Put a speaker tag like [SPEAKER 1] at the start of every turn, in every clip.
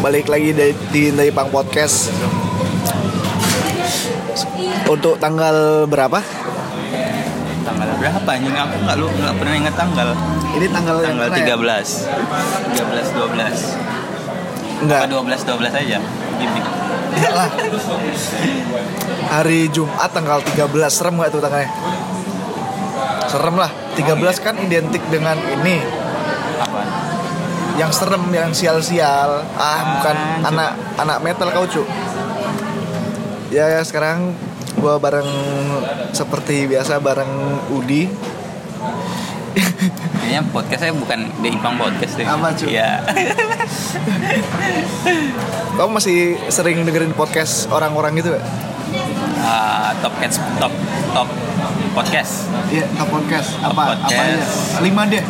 [SPEAKER 1] balik lagi dari, di dari Pang Podcast untuk tanggal berapa?
[SPEAKER 2] Tanggal berapa anjing? Aku nggak lu nggak pernah ingat tanggal.
[SPEAKER 1] Ini tanggal yang
[SPEAKER 2] Tanggal
[SPEAKER 1] mana ya?
[SPEAKER 2] 13. 13 12.
[SPEAKER 1] Enggak.
[SPEAKER 2] Apa 12 12 aja? Gimik.
[SPEAKER 1] Enggak lah. Hari Jumat tanggal 13 serem nggak tuh tanggalnya? Serem lah. 13 kan identik dengan ini
[SPEAKER 2] Apaan?
[SPEAKER 1] yang serem yang sial-sial. Ah, bukan
[SPEAKER 2] Anjir.
[SPEAKER 1] anak anak metal kau, Cuk. Ya, ya, sekarang gua bareng seperti biasa bareng Udi.
[SPEAKER 2] Kayaknya podcast saya bukan The Ipang Podcast deh.
[SPEAKER 1] Apa, cuy?
[SPEAKER 2] Iya.
[SPEAKER 1] Kamu masih sering dengerin podcast orang-orang gitu gak?
[SPEAKER 2] Ah, top Cats top top podcast.
[SPEAKER 1] Iya, podcast.
[SPEAKER 2] Apa- Podcast. apanya?
[SPEAKER 1] Lima deh.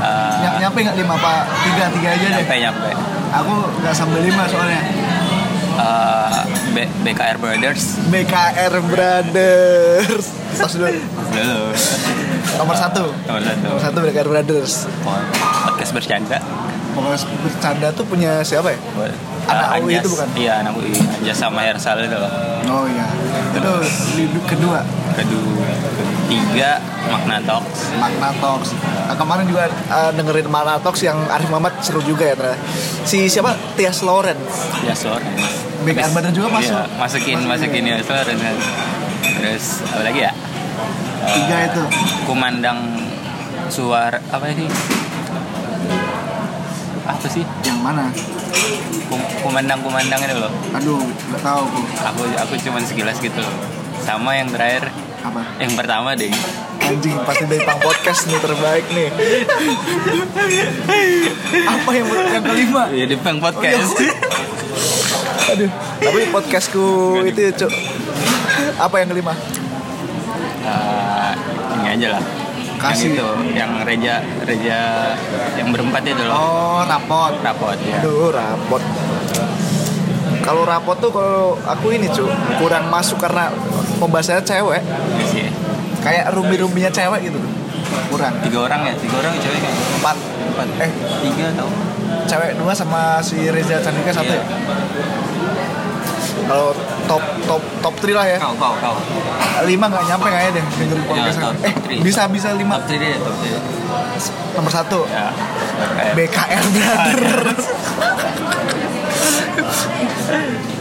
[SPEAKER 2] Ah,
[SPEAKER 1] nyampe nggak lima, Pak? Tiga, tiga aja
[SPEAKER 2] nyampe nyampe.
[SPEAKER 1] Aku nggak sampai lima soalnya.
[SPEAKER 2] Ah, B- BKR Brothers.
[SPEAKER 1] BKR Brothers. Tos dulu.
[SPEAKER 2] Dulu.
[SPEAKER 1] Nomor satu.
[SPEAKER 2] Nomor satu.
[SPEAKER 1] Nomor satu BKR Brothers.
[SPEAKER 2] Podcast bercanda.
[SPEAKER 1] Pokoknya bercanda tuh punya siapa ya? Anak
[SPEAKER 2] Ah,
[SPEAKER 1] UI
[SPEAKER 2] Anjas.
[SPEAKER 1] itu bukan?
[SPEAKER 2] Iya, anak UI. Anjas sama Hersal itu loh.
[SPEAKER 1] Oh iya. Itu di- kedua.
[SPEAKER 2] Kedua, ketiga Magna Talks.
[SPEAKER 1] Magna Talks. Nah, kemarin juga eh, dengerin Magna Talks yang Arif Muhammad seru juga ya ternyata. Si siapa? Tias Lawrence.
[SPEAKER 2] Ya suara.
[SPEAKER 1] Big
[SPEAKER 2] Habis-
[SPEAKER 1] Armada juga masuk.
[SPEAKER 2] Iya, masukin,
[SPEAKER 1] Masukin.
[SPEAKER 2] masukin ya suara. Terus apa lagi ya?
[SPEAKER 1] Tiga itu.
[SPEAKER 2] Kumandang suara apa ini? Apa sih?
[SPEAKER 1] Yang mana?
[SPEAKER 2] Kum- Kumandang-kumandang itu loh.
[SPEAKER 1] Aduh, nggak tahu aku.
[SPEAKER 2] Aku aku cuman sekilas gitu loh. Sama yang terakhir,
[SPEAKER 1] Apa?
[SPEAKER 2] yang pertama deh.
[SPEAKER 1] Anjing pasti dari Pang Podcast nih terbaik nih. Apa yang yang kelima?
[SPEAKER 2] Ya di Pang
[SPEAKER 1] Oh,
[SPEAKER 2] podcast.
[SPEAKER 1] Aduh, tapi podcastku itu ya, Cuk. Apa yang kelima?
[SPEAKER 2] Eh, ini aja lah.
[SPEAKER 1] Kasih.
[SPEAKER 2] Yang itu, yang reja reja yang berempat itu loh.
[SPEAKER 1] Oh, rapot.
[SPEAKER 2] Rapot ya.
[SPEAKER 1] Aduh, rapot. Kalau rapot tuh kalau aku ini, Cuk, kurang masuk karena pembahasannya cewek.
[SPEAKER 2] Iya sih.
[SPEAKER 1] Kayak rumbi-rumbinya cewek gitu. Kurang.
[SPEAKER 2] Tiga orang ya, tiga orang cewek kan.
[SPEAKER 1] Empat.
[SPEAKER 2] Empat.
[SPEAKER 1] Eh.
[SPEAKER 2] tiga tau.
[SPEAKER 1] Cewek dua sama si Reza Candika satu ya? Kalau top top top 3 lah ya.
[SPEAKER 2] Kau kau kau.
[SPEAKER 1] lima nggak ya, nyampe kayaknya deh dengerin podcast
[SPEAKER 2] Ya, top-
[SPEAKER 1] eh
[SPEAKER 2] top three.
[SPEAKER 1] bisa bisa
[SPEAKER 2] Top
[SPEAKER 1] lima
[SPEAKER 2] three deh, top three.
[SPEAKER 1] nomor satu
[SPEAKER 2] Ya. Eh,
[SPEAKER 1] BKR Brothers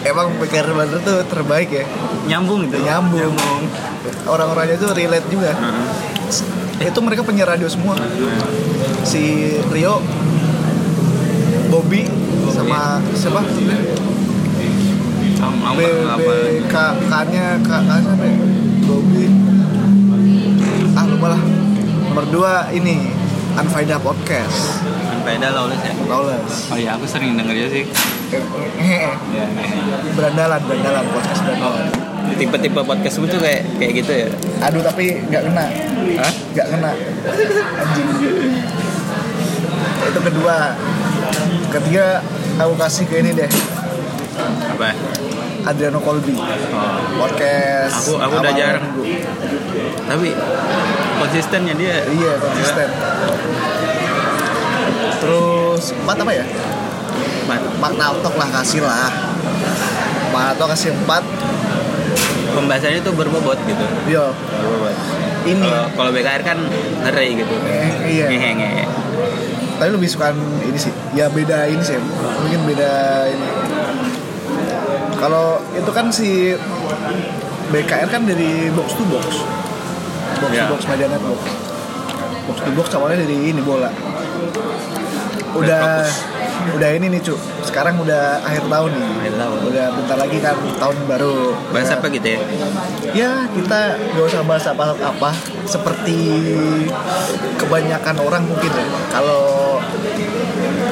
[SPEAKER 1] emang BKR Brothers tuh terbaik ya
[SPEAKER 2] Nyambung gitu. itu.
[SPEAKER 1] nyambung orang-orangnya tuh relate juga itu mereka penyiar radio semua si Rio Bobby sama siapa
[SPEAKER 2] Sama
[SPEAKER 1] B B
[SPEAKER 2] apa?
[SPEAKER 1] K K nya K K siapa ya Bobby ah lupa lah nomor dua ini Unfaida Podcast
[SPEAKER 2] Beda lawless ya.
[SPEAKER 1] Lawless
[SPEAKER 2] Oh iya, aku sering denger ya sih. Ya.
[SPEAKER 1] berandalan berandalan podcast berandalan
[SPEAKER 2] Tipe-tipe podcast itu kayak kayak gitu ya.
[SPEAKER 1] aduh tapi nggak kena
[SPEAKER 2] Hah?
[SPEAKER 1] nggak kena anjing itu kedua ketiga aku kasih ke ini deh
[SPEAKER 2] Apa?
[SPEAKER 1] Adriano Colby podcast
[SPEAKER 2] Oh. Aku- aku
[SPEAKER 1] awal
[SPEAKER 2] udah jarang.
[SPEAKER 1] minggu.
[SPEAKER 2] Tapi konsistennya dia
[SPEAKER 1] Iya konsisten. Terus empat apa ya? Empat Nautok lah kasih lah. Empat Nautok kasih empat.
[SPEAKER 2] pembahasannya tuh berbobot gitu.
[SPEAKER 1] Yo
[SPEAKER 2] Berbobot.
[SPEAKER 1] ini.
[SPEAKER 2] Kalau kalau BKR kan ngeri gitu.
[SPEAKER 1] Eh, iya.
[SPEAKER 2] Ngehe ngehe.
[SPEAKER 1] Tapi lebih suka ini sih. Ya beda ini sih. Mungkin beda ini. Kalau itu kan si BKR kan dari box to box. Box
[SPEAKER 2] Iya.
[SPEAKER 1] to box Medianet box. Box to box awalnya dari ini bola. Udah
[SPEAKER 2] fokus.
[SPEAKER 1] udah ini nih, Cuk. Sekarang udah akhir tahun nih.
[SPEAKER 2] Akhir tahun.
[SPEAKER 1] Udah bentar lagi kan tahun baru.
[SPEAKER 2] Bahas
[SPEAKER 1] Ya.
[SPEAKER 2] apa gitu ya?
[SPEAKER 1] Ya kita gak usah bahas apa-apa Seperti kebanyakan orang mungkin ya Kalau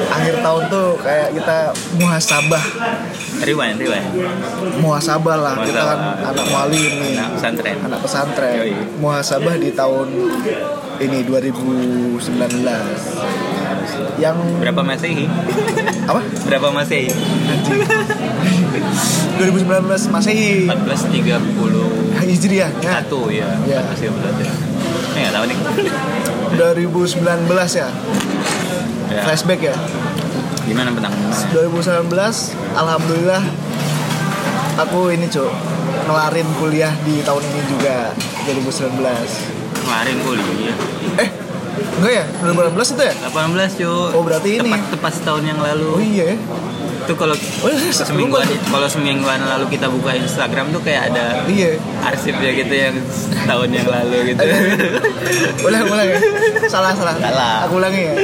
[SPEAKER 1] akhir tahun tuh kayak kita muhasabah
[SPEAKER 2] Rewind, rewind.
[SPEAKER 1] Muhasabah lah, kita kan
[SPEAKER 2] Muhasabah.
[SPEAKER 1] anak wali nih
[SPEAKER 2] Nah, pesantren.
[SPEAKER 1] Anak pesantren
[SPEAKER 2] Yoi.
[SPEAKER 1] Muhasabah di tahun ini 2019 Yang
[SPEAKER 2] Berapa Masehi?
[SPEAKER 1] apa?
[SPEAKER 2] Berapa Masehi?
[SPEAKER 1] 2019 Masehi
[SPEAKER 2] 1431
[SPEAKER 1] Hijriahnya
[SPEAKER 2] ya.
[SPEAKER 1] Iya.
[SPEAKER 2] 1431. Ini enggak tahu nih.
[SPEAKER 1] 2019 ya
[SPEAKER 2] Ya.
[SPEAKER 1] Iya. flashback ya
[SPEAKER 2] Gimana penanggulangannya?
[SPEAKER 1] 2019 alhamdulillah aku ini cuk ngelarin kuliah di tahun ini juga 2019
[SPEAKER 2] Kemarin kuliah.
[SPEAKER 1] eh enggak ya 2018 itu ya
[SPEAKER 2] 18 cuy.
[SPEAKER 1] Oh, berarti ini.
[SPEAKER 2] Tepat tepat setahun yang lalu.
[SPEAKER 1] oh iya ya
[SPEAKER 2] Itu kalau
[SPEAKER 1] oh iya sebelum
[SPEAKER 2] semingguan kalau semingguan lalu kita buka Instagram tuh kayak ada
[SPEAKER 1] iya
[SPEAKER 2] arsipnya gitu yang setahun yang lalu gitu.
[SPEAKER 1] ulang ulang ya salah salah
[SPEAKER 2] Salah.
[SPEAKER 1] aku ulangi ya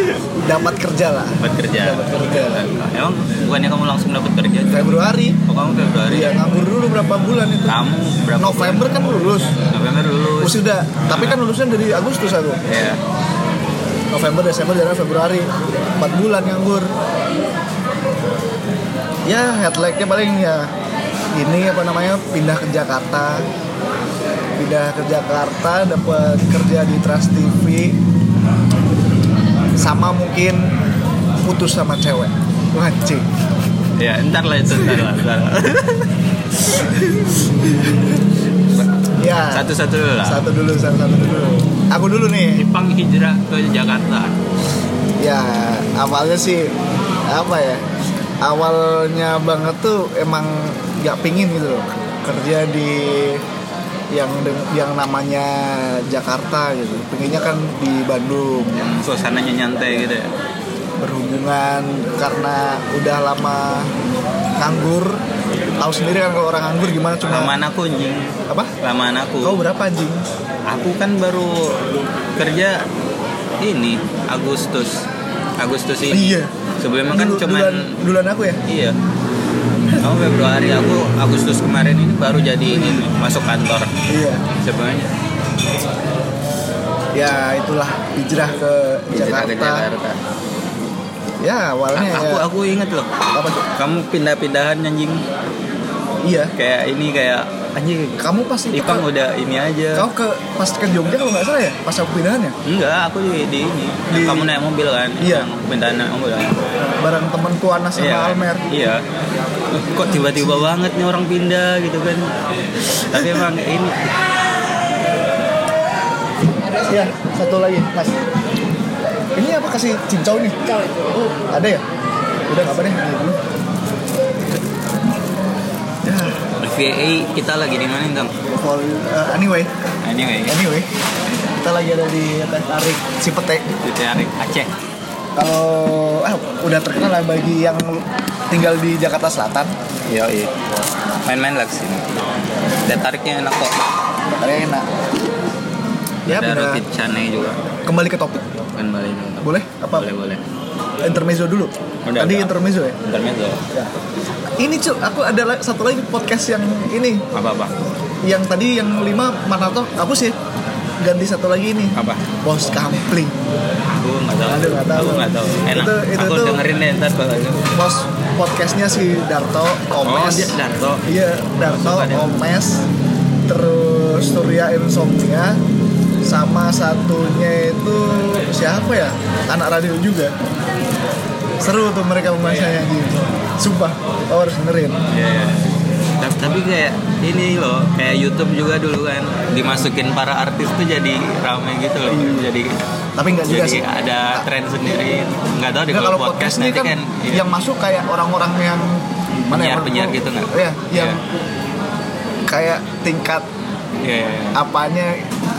[SPEAKER 1] dapat kerja lah
[SPEAKER 2] Dapat kerja.
[SPEAKER 1] dapat kerja
[SPEAKER 2] Emang bukannya kamu langsung dapat kerja? Cuy?
[SPEAKER 1] Februari
[SPEAKER 2] Oh kamu Februari.
[SPEAKER 1] iya nganggur dulu berapa bulan itu
[SPEAKER 2] Kamu berapa?
[SPEAKER 1] November kan lulus
[SPEAKER 2] November
[SPEAKER 1] Oh,
[SPEAKER 2] lulus.
[SPEAKER 1] sudah tapi kan lulusnya dari Agustus aku
[SPEAKER 2] Ya.
[SPEAKER 1] November, Desember, Januari, Februari 4 bulan nganggur Ya headlightnya paling ya Ini apa namanya pindah ke Jakarta Pindah ke Jakarta dapat kerja di Trans TV Sama mungkin putus sama cewek Anjing
[SPEAKER 2] Ya, ntar lah itu, ntar lah, ntar lah.
[SPEAKER 1] Ya
[SPEAKER 2] Satu-satu dulu lah.
[SPEAKER 1] satu dulu, satu, satu dulu Aku dulu nih
[SPEAKER 2] Jepang hijrah ke Jakarta.
[SPEAKER 1] Ya awalnya sih apa ya awalnya banget tuh emang nggak pingin gitu loh kerja di yang deng- yang namanya Jakarta gitu pinginnya kan di Bandung
[SPEAKER 2] Yang suasananya nyantai gitu ya.
[SPEAKER 1] berhubungan karena udah lama nganggur tahu sendiri kan kalau orang nganggur gimana cuma
[SPEAKER 2] Lamaan aku anjing.
[SPEAKER 1] apa
[SPEAKER 2] Lamaan
[SPEAKER 1] kau
[SPEAKER 2] aku.
[SPEAKER 1] berapa anjing
[SPEAKER 2] Aku kan baru kerja ini Agustus. Agustus ini.
[SPEAKER 1] iya
[SPEAKER 2] Sebelumnya kan
[SPEAKER 1] Dulu-
[SPEAKER 2] cuman
[SPEAKER 1] duluan, duluan aku ya
[SPEAKER 2] iya. Kamu Februari aku Agustus kemarin ini baru jadi ini masuk kantor
[SPEAKER 1] iya
[SPEAKER 2] sebenarnya.
[SPEAKER 1] ya itulah hijrah ke
[SPEAKER 2] Hijrah
[SPEAKER 1] Jakarta,
[SPEAKER 2] ke Jakarta.
[SPEAKER 1] ya awalnya ya
[SPEAKER 2] Aku aku inget loh.
[SPEAKER 1] apa tuh?
[SPEAKER 2] Kamu pindah-pindahan anjing
[SPEAKER 1] Iya.
[SPEAKER 2] kayak ini kayak anjing
[SPEAKER 1] Kamu pas itu
[SPEAKER 2] Ipang
[SPEAKER 1] ke,
[SPEAKER 2] udah ini aja.
[SPEAKER 1] kau ke pas ke Jogja kalau nggak salah ya? Pas aku pindahan ya?
[SPEAKER 2] Enggak, aku di, di ini.
[SPEAKER 1] Di-
[SPEAKER 2] Kamu naik mobil kan?
[SPEAKER 1] Iya.
[SPEAKER 2] Yang Bentar naik mobil kan?
[SPEAKER 1] Bareng temanku Anas sama
[SPEAKER 2] iya. kan?
[SPEAKER 1] Almer.
[SPEAKER 2] Iya. Loh, Kok tiba-tiba banget nih orang pindah gitu kan? Tapi emang ini
[SPEAKER 1] Iya, satu lagi, Mas. Ini apa kasih cincau nih? Oh, ada ya? Udah nggak apa deh, ini dulu. Ya,
[SPEAKER 2] VA kita lagi di mana Kang?
[SPEAKER 1] for, uh, anyway,
[SPEAKER 2] Anyway,
[SPEAKER 1] anyway, kita lagi ada di teh tarik si petek.
[SPEAKER 2] di Tarik Aceh.
[SPEAKER 1] Kalau ah, udah terkenal lah bagi yang tinggal di Jakarta Selatan,
[SPEAKER 2] Iya, iya. Main-main lah kesini. Teh tariknya enak kok.
[SPEAKER 1] Karena enak. Ya,
[SPEAKER 2] Ada
[SPEAKER 1] benar.
[SPEAKER 2] roti canai juga.
[SPEAKER 1] Kembali ke topik,
[SPEAKER 2] Kan balik.
[SPEAKER 1] boleh? Apa?
[SPEAKER 2] Boleh, boleh.
[SPEAKER 1] intermezzo dulu.
[SPEAKER 2] Udah,
[SPEAKER 1] Tadi
[SPEAKER 2] udah.
[SPEAKER 1] intermezzo ya.
[SPEAKER 2] Intermezzo.
[SPEAKER 1] Ini cuy, aku ada la- satu lagi podcast yang ini,
[SPEAKER 2] Apa-apa?
[SPEAKER 1] yang tadi yang lima Manarto, aku sih ganti satu lagi ini.
[SPEAKER 2] Apa?
[SPEAKER 1] Bos kampling,
[SPEAKER 2] Aku nggak tahu.
[SPEAKER 1] Aduh, nggak tahu.
[SPEAKER 2] Aku nggak tahu. Enak.
[SPEAKER 1] Itu- itu
[SPEAKER 2] aku
[SPEAKER 1] tuh-
[SPEAKER 2] dengerin deh ntar kalau itu.
[SPEAKER 1] bos podcastnya si Darto,
[SPEAKER 2] Oh,
[SPEAKER 1] Omes,
[SPEAKER 2] dia Darto.
[SPEAKER 1] iya Darto,
[SPEAKER 2] Suka dia.
[SPEAKER 1] Omes, terus Surya Insomnia, sama satunya itu siapa ya? Anak radio juga. Seru tuh mereka pembahasannya gitu. Sumpah, kau harus dengerin.
[SPEAKER 2] Iya. Ta- Tapi kayak ini loh, kayak YouTube juga dulu kan dimasukin para artis tuh jadi rame gitu loh. Jadi
[SPEAKER 1] Tapi nggak Iya. Kan juga
[SPEAKER 2] jadi
[SPEAKER 1] sih.
[SPEAKER 2] ada tren sendiri. Nggak tahu deh
[SPEAKER 1] Nggak,
[SPEAKER 2] kalau podcast
[SPEAKER 1] ini
[SPEAKER 2] nanti kan, iya.
[SPEAKER 1] yang masuk kayak orang-orang yang ya,
[SPEAKER 2] Penyiar-penyiar
[SPEAKER 1] menurutku-
[SPEAKER 2] gitu nggak?
[SPEAKER 1] Iya, yang
[SPEAKER 2] Iya.
[SPEAKER 1] kayak tingkat
[SPEAKER 2] Iya, iya, iya.
[SPEAKER 1] apanya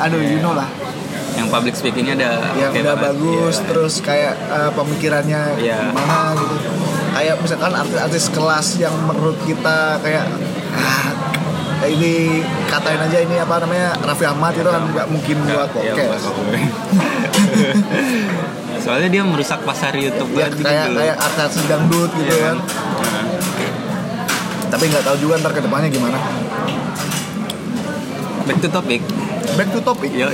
[SPEAKER 1] aduh you know lah
[SPEAKER 2] yang public speakingnya ada
[SPEAKER 1] yang
[SPEAKER 2] kayak
[SPEAKER 1] udah
[SPEAKER 2] banget.
[SPEAKER 1] bagus
[SPEAKER 2] Iya.
[SPEAKER 1] terus kayak eh, pemikirannya
[SPEAKER 2] Iya.
[SPEAKER 1] gimana gitu kayak misalkan artis-artis kelas yang menurut kita kayak ah, ini katain aja ini apa namanya Raffi Ahmad itu kan nggak mungkin
[SPEAKER 2] Nggak,
[SPEAKER 1] buat
[SPEAKER 2] iya,
[SPEAKER 1] podcast
[SPEAKER 2] buat podcast. Soalnya dia merusak pasar YouTube
[SPEAKER 1] ya,
[SPEAKER 2] banget
[SPEAKER 1] kayak
[SPEAKER 2] gitu.
[SPEAKER 1] kayak artis dangdut gitu kan
[SPEAKER 2] Iya.
[SPEAKER 1] tapi nggak tahu juga ntar kedepannya gimana
[SPEAKER 2] Back to topic.
[SPEAKER 1] back to topic
[SPEAKER 2] Yo,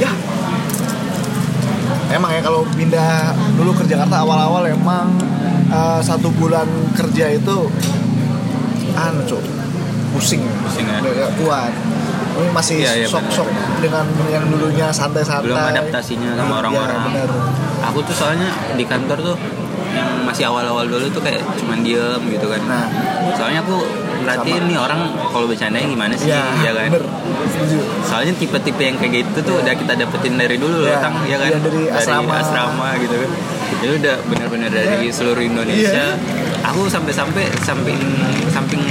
[SPEAKER 1] ya emang ya kalau pindah dulu ke Jakarta awal-awal emang eh, satu bulan kerja itu anu cuk pusing
[SPEAKER 2] Pusing ya.
[SPEAKER 1] Nggak- nggak kuat ini masih
[SPEAKER 2] Iya, iya,
[SPEAKER 1] sok-sok dengan yang dulunya santai-santai
[SPEAKER 2] Belum adaptasinya sama orang-orang.
[SPEAKER 1] ya, benar.
[SPEAKER 2] aku tuh soalnya di kantor tuh yang masih awal-awal dulu tuh kayak cuman diem gitu kan
[SPEAKER 1] nah
[SPEAKER 2] soalnya aku merhatiin nih orang kalau bercandanya gimana sih
[SPEAKER 1] ya,
[SPEAKER 2] ya kan
[SPEAKER 1] bener setuju
[SPEAKER 2] soalnya tipe-tipe yang kayak gitu tuh udah kita dapetin dari dulu loh
[SPEAKER 1] Ya,
[SPEAKER 2] Tang, ya kan
[SPEAKER 1] iya, dari asrama.
[SPEAKER 2] asrama gitu kan Ini udah benar-benar dari seluruh Indonesia.
[SPEAKER 1] Iya.
[SPEAKER 2] Aku sampai-sampai samping samping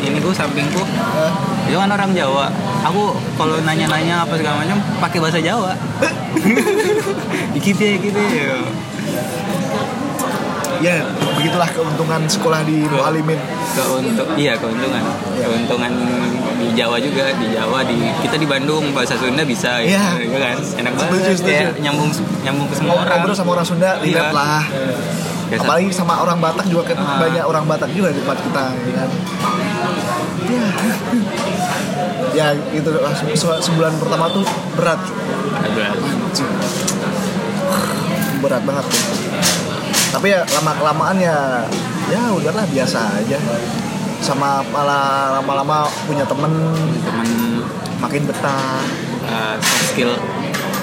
[SPEAKER 2] ini gue sampingku
[SPEAKER 1] Eh,
[SPEAKER 2] dia kan orang Jawa. Aku kalau nanya-nanya apa segala macam pakai bahasa Jawa. dikit ya, gitu ya.
[SPEAKER 1] ya begitulah keuntungan sekolah di Mualimin
[SPEAKER 2] Keuntung, iya keuntungan. Keuntungan di Jawa juga, di Jawa di kita di Bandung bahasa Sunda bisa gitu,
[SPEAKER 1] Iya.
[SPEAKER 2] gitu kan. Enak banget
[SPEAKER 1] Setuju, setuju.
[SPEAKER 2] ya, nyambung nyambung ke semua orang.
[SPEAKER 1] ngobrol sama orang Sunda
[SPEAKER 2] Iya.
[SPEAKER 1] relate lah
[SPEAKER 2] Ya, sa-
[SPEAKER 1] apalagi sama orang Batak juga kan
[SPEAKER 2] Ah.
[SPEAKER 1] banyak orang Batak juga di tempat kita ya kan ya ya itu lah se- se- sebulan pertama tuh berat
[SPEAKER 2] Aduh.
[SPEAKER 1] Cing. berat banget tuh. tapi ya lama kelamaan ya ya udahlah biasa aja sama malah lama-lama punya temen
[SPEAKER 2] teman
[SPEAKER 1] makin betah
[SPEAKER 2] uh, soft skill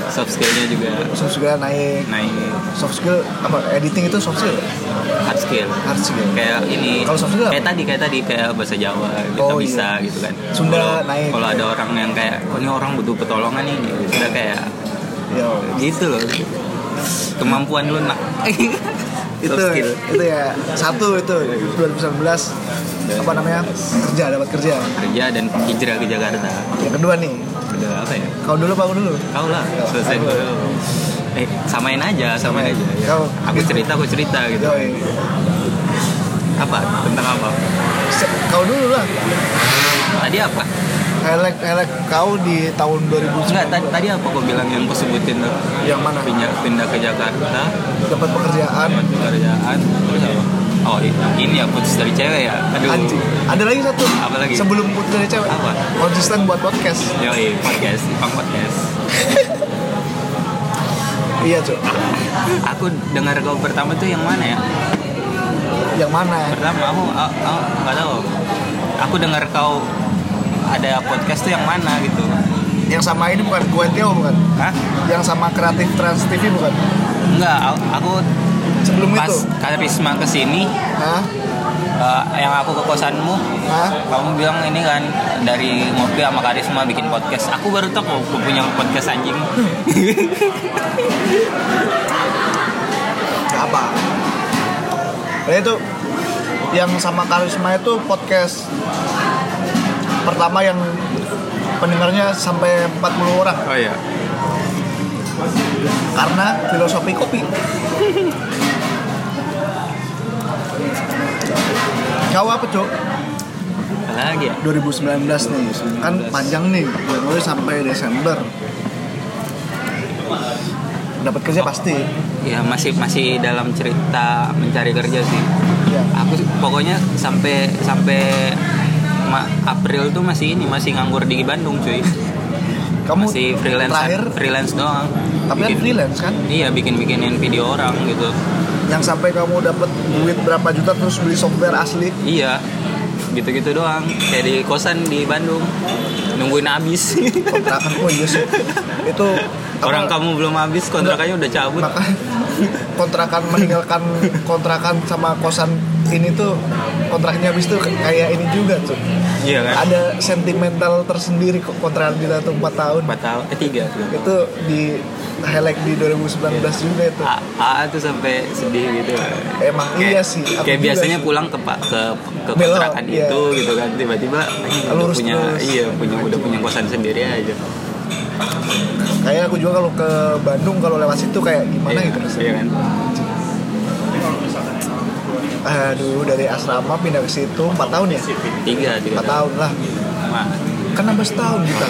[SPEAKER 2] soft skillnya juga
[SPEAKER 1] soft skill naik
[SPEAKER 2] naik
[SPEAKER 1] soft skill apa editing itu soft skill
[SPEAKER 2] hard skill
[SPEAKER 1] hard skill
[SPEAKER 2] kayak ini
[SPEAKER 1] Kalau soft skill apa?
[SPEAKER 2] kayak tadi kayak tadi kayak bahasa Jawa kita
[SPEAKER 1] Oh, iya.
[SPEAKER 2] bisa gitu kan
[SPEAKER 1] Sunda
[SPEAKER 2] Kalau-
[SPEAKER 1] naik.
[SPEAKER 2] kalau ada orang yang kayak oh, ini orang butuh pertolongan nih gitu. sudah kayak
[SPEAKER 1] Yo.
[SPEAKER 2] gitu loh kemampuan lu nak
[SPEAKER 1] itu
[SPEAKER 2] soft skill
[SPEAKER 1] itu ya satu itu 2019 apa namanya kerja dapat kerja
[SPEAKER 2] kerja dan hijrah ke Jakarta
[SPEAKER 1] yang kedua nih
[SPEAKER 2] udah apa ya
[SPEAKER 1] kau dulu apa aku dulu
[SPEAKER 2] kau lah selesai
[SPEAKER 1] Aku.
[SPEAKER 2] dulu eh samain aja samain aja ya.
[SPEAKER 1] Kau.
[SPEAKER 2] aku cerita aku cerita gitu
[SPEAKER 1] Yoi.
[SPEAKER 2] apa tentang apa
[SPEAKER 1] Se- kau dulu lah
[SPEAKER 2] tadi apa
[SPEAKER 1] highlight highlight kau di tahun 2019
[SPEAKER 2] Enggak, tadi, tadi apa kok bilang yang aku sebutin tuh?
[SPEAKER 1] yang mana
[SPEAKER 2] Pindah, pindah ke Jakarta,
[SPEAKER 1] dapat pekerjaan
[SPEAKER 2] dapat pekerjaan, terus apa? Oh, i- ini ya putus dari cewek ya? Aduh.
[SPEAKER 1] anjing ada lagi satu
[SPEAKER 2] Apa lagi?
[SPEAKER 1] sebelum putus dari cewek
[SPEAKER 2] Apa?
[SPEAKER 1] konsisten buat podcast
[SPEAKER 2] Yoi, podcast, Ipang podcast.
[SPEAKER 1] iya cuy
[SPEAKER 2] Aku dengar kau pertama tuh yang mana ya?
[SPEAKER 1] yang mana
[SPEAKER 2] Pertama aku, a- a- nggak tahu. Aku dengar kau ada podcast tuh yang mana gitu?
[SPEAKER 1] yang sama ini bukan gue Tio bukan
[SPEAKER 2] Hah?
[SPEAKER 1] yang sama kreatif trans TV bukan
[SPEAKER 2] Enggak, a- aku
[SPEAKER 1] sebelum
[SPEAKER 2] pas
[SPEAKER 1] itu
[SPEAKER 2] Karisma kesini,
[SPEAKER 1] Hah?
[SPEAKER 2] eh, yang aku ke kosanmu,
[SPEAKER 1] Hah?
[SPEAKER 2] kamu bilang ini kan dari ngopi sama Karisma bikin podcast. Aku baru tahu kok aku punya podcast anjing.
[SPEAKER 1] Gak apa Nah itu yang sama karisma itu podcast pertama yang pendengarnya sampai 40 orang
[SPEAKER 2] Oh iya.
[SPEAKER 1] karena filosofi kopi kau apa cok
[SPEAKER 2] Apa lagi ya?
[SPEAKER 1] 2019 nih kan panjang nih Januari sampai Desember dapat kerja pasti
[SPEAKER 2] Ya masih masih dalam cerita mencari kerja sih.
[SPEAKER 1] ya
[SPEAKER 2] Aku sih- pokoknya sampai sampai Ma- April tuh masih ini masih nganggur di Bandung cuy.
[SPEAKER 1] kamu
[SPEAKER 2] Masih freelance
[SPEAKER 1] terakhir
[SPEAKER 2] freelance doang.
[SPEAKER 1] tapi kan
[SPEAKER 2] Bikin-
[SPEAKER 1] freelance kan
[SPEAKER 2] Iya bikin bikinin video orang gitu.
[SPEAKER 1] yang sampai kamu dapat duit berapa juta terus beli software asli
[SPEAKER 2] Iya gitu-gitu doang. Kayak di kosan di Bandung nungguin habis.
[SPEAKER 1] kontrakan oh iya sih itu apa,
[SPEAKER 2] Orang kamu belum habis kontrakannya udah cabut.
[SPEAKER 1] maka kontrakan meninggalkan kontrakan sama kosan ini tuh kontraknya habis tuh kayak ini juga tuh
[SPEAKER 2] Iya kan?
[SPEAKER 1] ada sentimental tersendiri kok kontrakan kita tuh 4 tahun
[SPEAKER 2] 4 tahun, eh 3 tuh.
[SPEAKER 1] itu di highlight di 2019 juga itu
[SPEAKER 2] A- AA tuh sampai sedih gitu.
[SPEAKER 1] emang iya sih aku
[SPEAKER 2] Ah. Kayak
[SPEAKER 1] juga
[SPEAKER 2] biasanya
[SPEAKER 1] sih.
[SPEAKER 2] pulang ke pa- ke ke
[SPEAKER 1] Belok,
[SPEAKER 2] kontrakan
[SPEAKER 1] iya.
[SPEAKER 2] itu gitu kan tiba-tiba anjing, udah
[SPEAKER 1] Lurus
[SPEAKER 2] punya
[SPEAKER 1] terus.
[SPEAKER 2] iya punya udah punya kosan sendiri aja.
[SPEAKER 1] kayak aku juga kalau ke Bandung kalau lewat situ kayak gimana
[SPEAKER 2] iya,
[SPEAKER 1] gitu
[SPEAKER 2] iya kan?
[SPEAKER 1] aduh dari asrama pindah ke situ 4 tahun ya
[SPEAKER 2] Tiga, tiga.
[SPEAKER 1] 4 tahun lah
[SPEAKER 2] Mah,
[SPEAKER 1] kan nambah setahun kita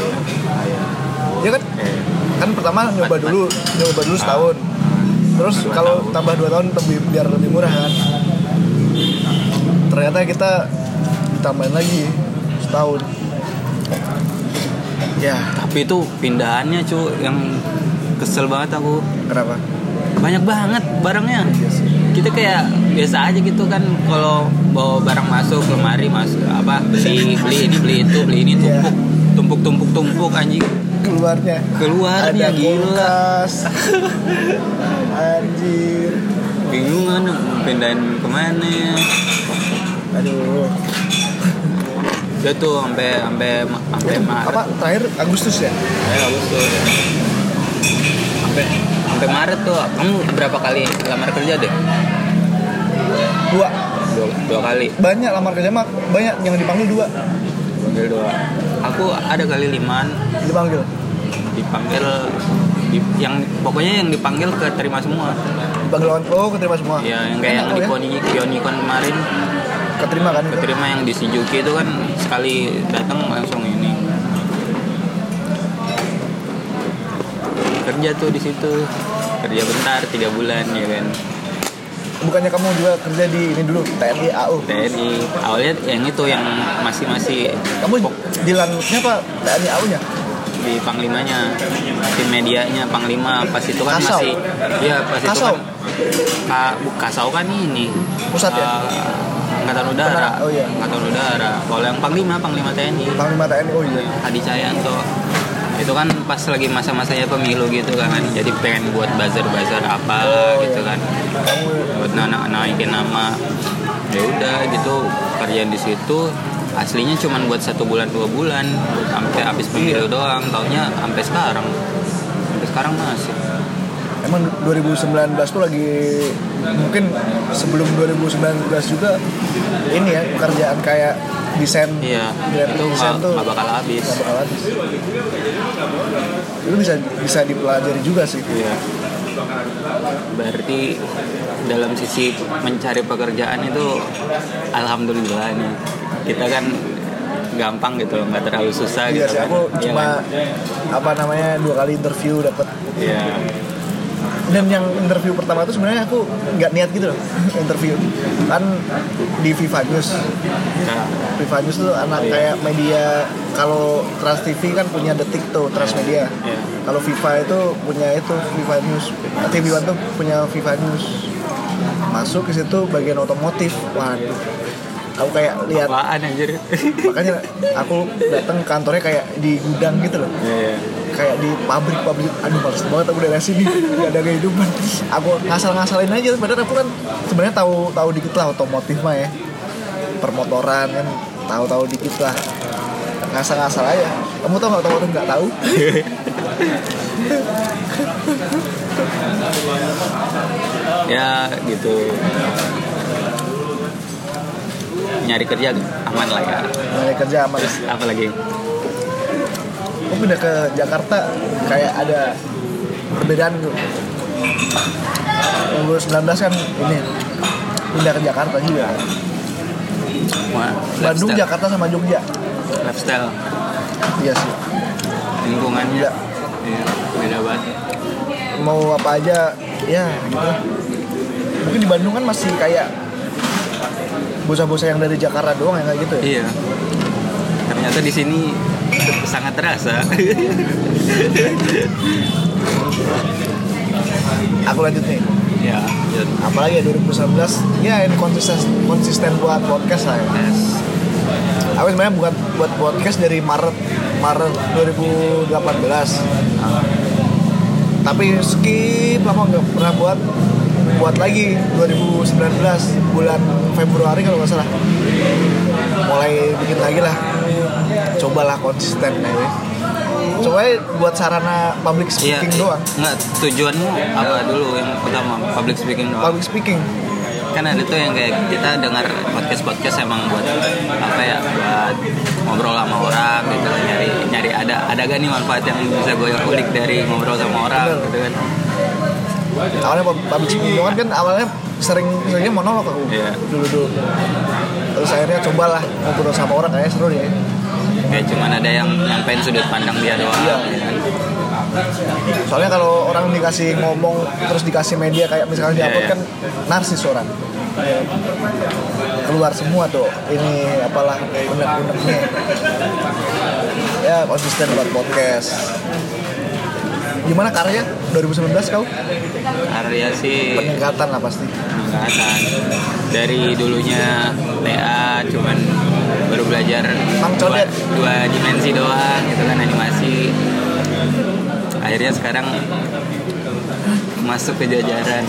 [SPEAKER 1] ya kan
[SPEAKER 2] eh,
[SPEAKER 1] kan pertama nyoba dulu nyoba dulu setahun terus kalau tambah dua tahun lebih biar lebih murah kan ternyata kita tambahin lagi setahun ya
[SPEAKER 2] Tapi itu pindahannya cu yang kesel banget aku.
[SPEAKER 1] kenapa
[SPEAKER 2] Banyak banget barangnya. Kita kayak biasa aja gitu kan kalau bawa barang masuk lemari masuk apa beli beli ini beli itu beli ini
[SPEAKER 1] Iya.
[SPEAKER 2] tumpuk tumpuk tumpuk tumpuk anjing
[SPEAKER 1] keluarnya ada
[SPEAKER 2] keluarnya gila
[SPEAKER 1] kulkas anjir
[SPEAKER 2] bingungan kan, pindahin kemana ya
[SPEAKER 1] aduh
[SPEAKER 2] udah tuh sampai sampai sampai Maret
[SPEAKER 1] apa terakhir Agustus ya
[SPEAKER 2] sampai Agustus sampai sampai Maret tuh kamu berapa kali lamar kerja deh
[SPEAKER 1] dua
[SPEAKER 2] dua, dua kali
[SPEAKER 1] banyak lamar kerja mah banyak yang dipanggil dua
[SPEAKER 2] panggil dua aku ada kali liman
[SPEAKER 1] dipanggil
[SPEAKER 2] dipanggil di- yang pokoknya yang dipanggil ke terima semua
[SPEAKER 1] dipanggil orang oh keterima semua
[SPEAKER 2] ya yang kayak yang di
[SPEAKER 1] Enak lo ya.
[SPEAKER 2] Koni Kionikon kemarin
[SPEAKER 1] keterima kan
[SPEAKER 2] keterima yang di Shinjuku itu kan sekali datang langsung ini kerja tuh di situ kerja bentar tiga bulan ya kan
[SPEAKER 1] bukannya kamu juga kerja di ini dulu TNI AU
[SPEAKER 2] TNI awalnya yang itu yang masih masih
[SPEAKER 1] kamu di lanutnya apa TNI AU nya
[SPEAKER 2] di panglimanya tim medianya panglima pas itu kan
[SPEAKER 1] Kasau.
[SPEAKER 2] masih iya pas itu
[SPEAKER 1] Kasau.
[SPEAKER 2] kan Ka- bu- kasau kan ini
[SPEAKER 1] Pusat ya?
[SPEAKER 2] Eh, angkatan udara
[SPEAKER 1] Tentara, oh iya.
[SPEAKER 2] angkatan udara kalau yang panglima panglima TNI
[SPEAKER 1] panglima TNI oh iya
[SPEAKER 2] Adi Cahyanto itu kan pas lagi masa-masanya pemilu gitu kan jadi pengen buat buzzer-buzzer apa
[SPEAKER 1] Oh,
[SPEAKER 2] gitu
[SPEAKER 1] iya.
[SPEAKER 2] kan
[SPEAKER 1] kamu
[SPEAKER 2] buat anak naikin nama ya udah gitu kerjaan di situ aslinya cuma buat satu bulan dua bulan sampai habis
[SPEAKER 1] Iya.
[SPEAKER 2] pemilu doang tahunnya sampai sekarang sampai sekarang masih
[SPEAKER 1] emang 2019 tuh lagi mungkin sebelum 2019 juga ini ya pekerjaan kayak desain
[SPEAKER 2] iya
[SPEAKER 1] graphic
[SPEAKER 2] itu
[SPEAKER 1] design
[SPEAKER 2] nggak
[SPEAKER 1] tuh
[SPEAKER 2] nggak bakal habis
[SPEAKER 1] nggak bakal habis itu bisa bisa dipelajari juga sih
[SPEAKER 2] iya berarti dalam sisi mencari pekerjaan itu alhamdulillah nih kita kan gampang gitu loh, nggak terlalu susah
[SPEAKER 1] Iya
[SPEAKER 2] gitu
[SPEAKER 1] sih,
[SPEAKER 2] kan.
[SPEAKER 1] aku
[SPEAKER 2] Iya
[SPEAKER 1] cuma
[SPEAKER 2] kan?
[SPEAKER 1] apa namanya dua kali interview dapat
[SPEAKER 2] iya
[SPEAKER 1] dan yang interview pertama itu sebenarnya aku nggak niat gitu loh interview kan di Viva News
[SPEAKER 2] Nah,
[SPEAKER 1] Viva News tuh anak
[SPEAKER 2] Oh, iya.
[SPEAKER 1] kayak media kalau Trans TV kan punya detik tuh Transmedia
[SPEAKER 2] Iya.
[SPEAKER 1] kalau Viva itu punya itu Viva News TV One tuh punya Viva News masuk ke situ bagian otomotif waduh aku kayak lihat
[SPEAKER 2] apaan anjir
[SPEAKER 1] makanya aku datang kantornya kayak di gudang gitu loh
[SPEAKER 2] Iya, iya.
[SPEAKER 1] kayak di pabrik-pabrik aduh males banget aku daerah sini gak ada kehidupan aku ngasal-ngasalin aja padahal aku kan sebenarnya tahu tahu dikit lah otomotif mah ya permotoran kan tahu-tahu dikit lah ngasal-ngasal aja kamu tau nggak otomotif nggak tahu
[SPEAKER 2] ya gitu nyari kerja aman lah ya
[SPEAKER 1] mulai kerja aman
[SPEAKER 2] terus apa lagi
[SPEAKER 1] aku pindah ke Jakarta kayak ada perbedaan tuh 2019 kan ini pindah ke Jakarta juga
[SPEAKER 2] Wah,
[SPEAKER 1] Bandung ya?
[SPEAKER 2] lifestyle.
[SPEAKER 1] Jakarta sama Jogja
[SPEAKER 2] lifestyle
[SPEAKER 1] iya sih
[SPEAKER 2] lingkungannya
[SPEAKER 1] Iya.
[SPEAKER 2] Iya, beda banget
[SPEAKER 1] mau apa aja ya gitu mungkin di Bandung kan masih kayak bocah-bocah yang dari Jakarta doang ya kayak gitu ya
[SPEAKER 2] Iya. Ternyata di sini sangat terasa. Iya.
[SPEAKER 1] aku lanjut nih
[SPEAKER 2] ya. Jun.
[SPEAKER 1] apalagi ya 2019 ya ini konsisten konsisten buat podcast lah ya
[SPEAKER 2] Yes.
[SPEAKER 1] aku sebenarnya buat buat podcast dari Maret Maret 2018 tapi skip aku nggak pernah buat buat lagi 2019 bulan Februari kalau nggak salah mulai bikin lagi lah cobalah konsisten aja coba buat sarana public
[SPEAKER 2] Iya.
[SPEAKER 1] speaking doang
[SPEAKER 2] Enggak, tujuanmu apa dulu yang pertama? Public speaking doang.
[SPEAKER 1] public speaking
[SPEAKER 2] Kan ada tuh yang kayak kita dengar podcast-podcast emang buat apa ya? Buat ngobrol sama orang gitu nyari nyari ada ada gak nih manfaat yang bisa gue ulik dari ngobrol sama orang
[SPEAKER 1] Bener.
[SPEAKER 2] gitu kan.
[SPEAKER 1] awalnya pub- public speaking doang kan awalnya sering seringnya monolog aku
[SPEAKER 2] Iya.
[SPEAKER 1] dulu dulu terus akhirnya cobalah ngobrol sama orang kayaknya seru ya
[SPEAKER 2] Kayak cuman ada yang nyampein sudut pandang dia doang
[SPEAKER 1] Iya.
[SPEAKER 2] gitu kan.
[SPEAKER 1] soalnya kalau orang dikasih ngomong terus dikasih media kayak misalnya di
[SPEAKER 2] Iya,
[SPEAKER 1] upload
[SPEAKER 2] iya.
[SPEAKER 1] kan narsis orang keluar semua tuh ini apalah unek-uneknya ya konsisten buat podcast gimana karya 2019 kau
[SPEAKER 2] Iya. Karya sih
[SPEAKER 1] peningkatan lah pasti
[SPEAKER 2] angkatan dari dulunya TA cuman baru belajar
[SPEAKER 1] Mang
[SPEAKER 2] dua,
[SPEAKER 1] Codet.
[SPEAKER 2] dua dimensi doang gitu kan animasi akhirnya sekarang masuk ke jajaran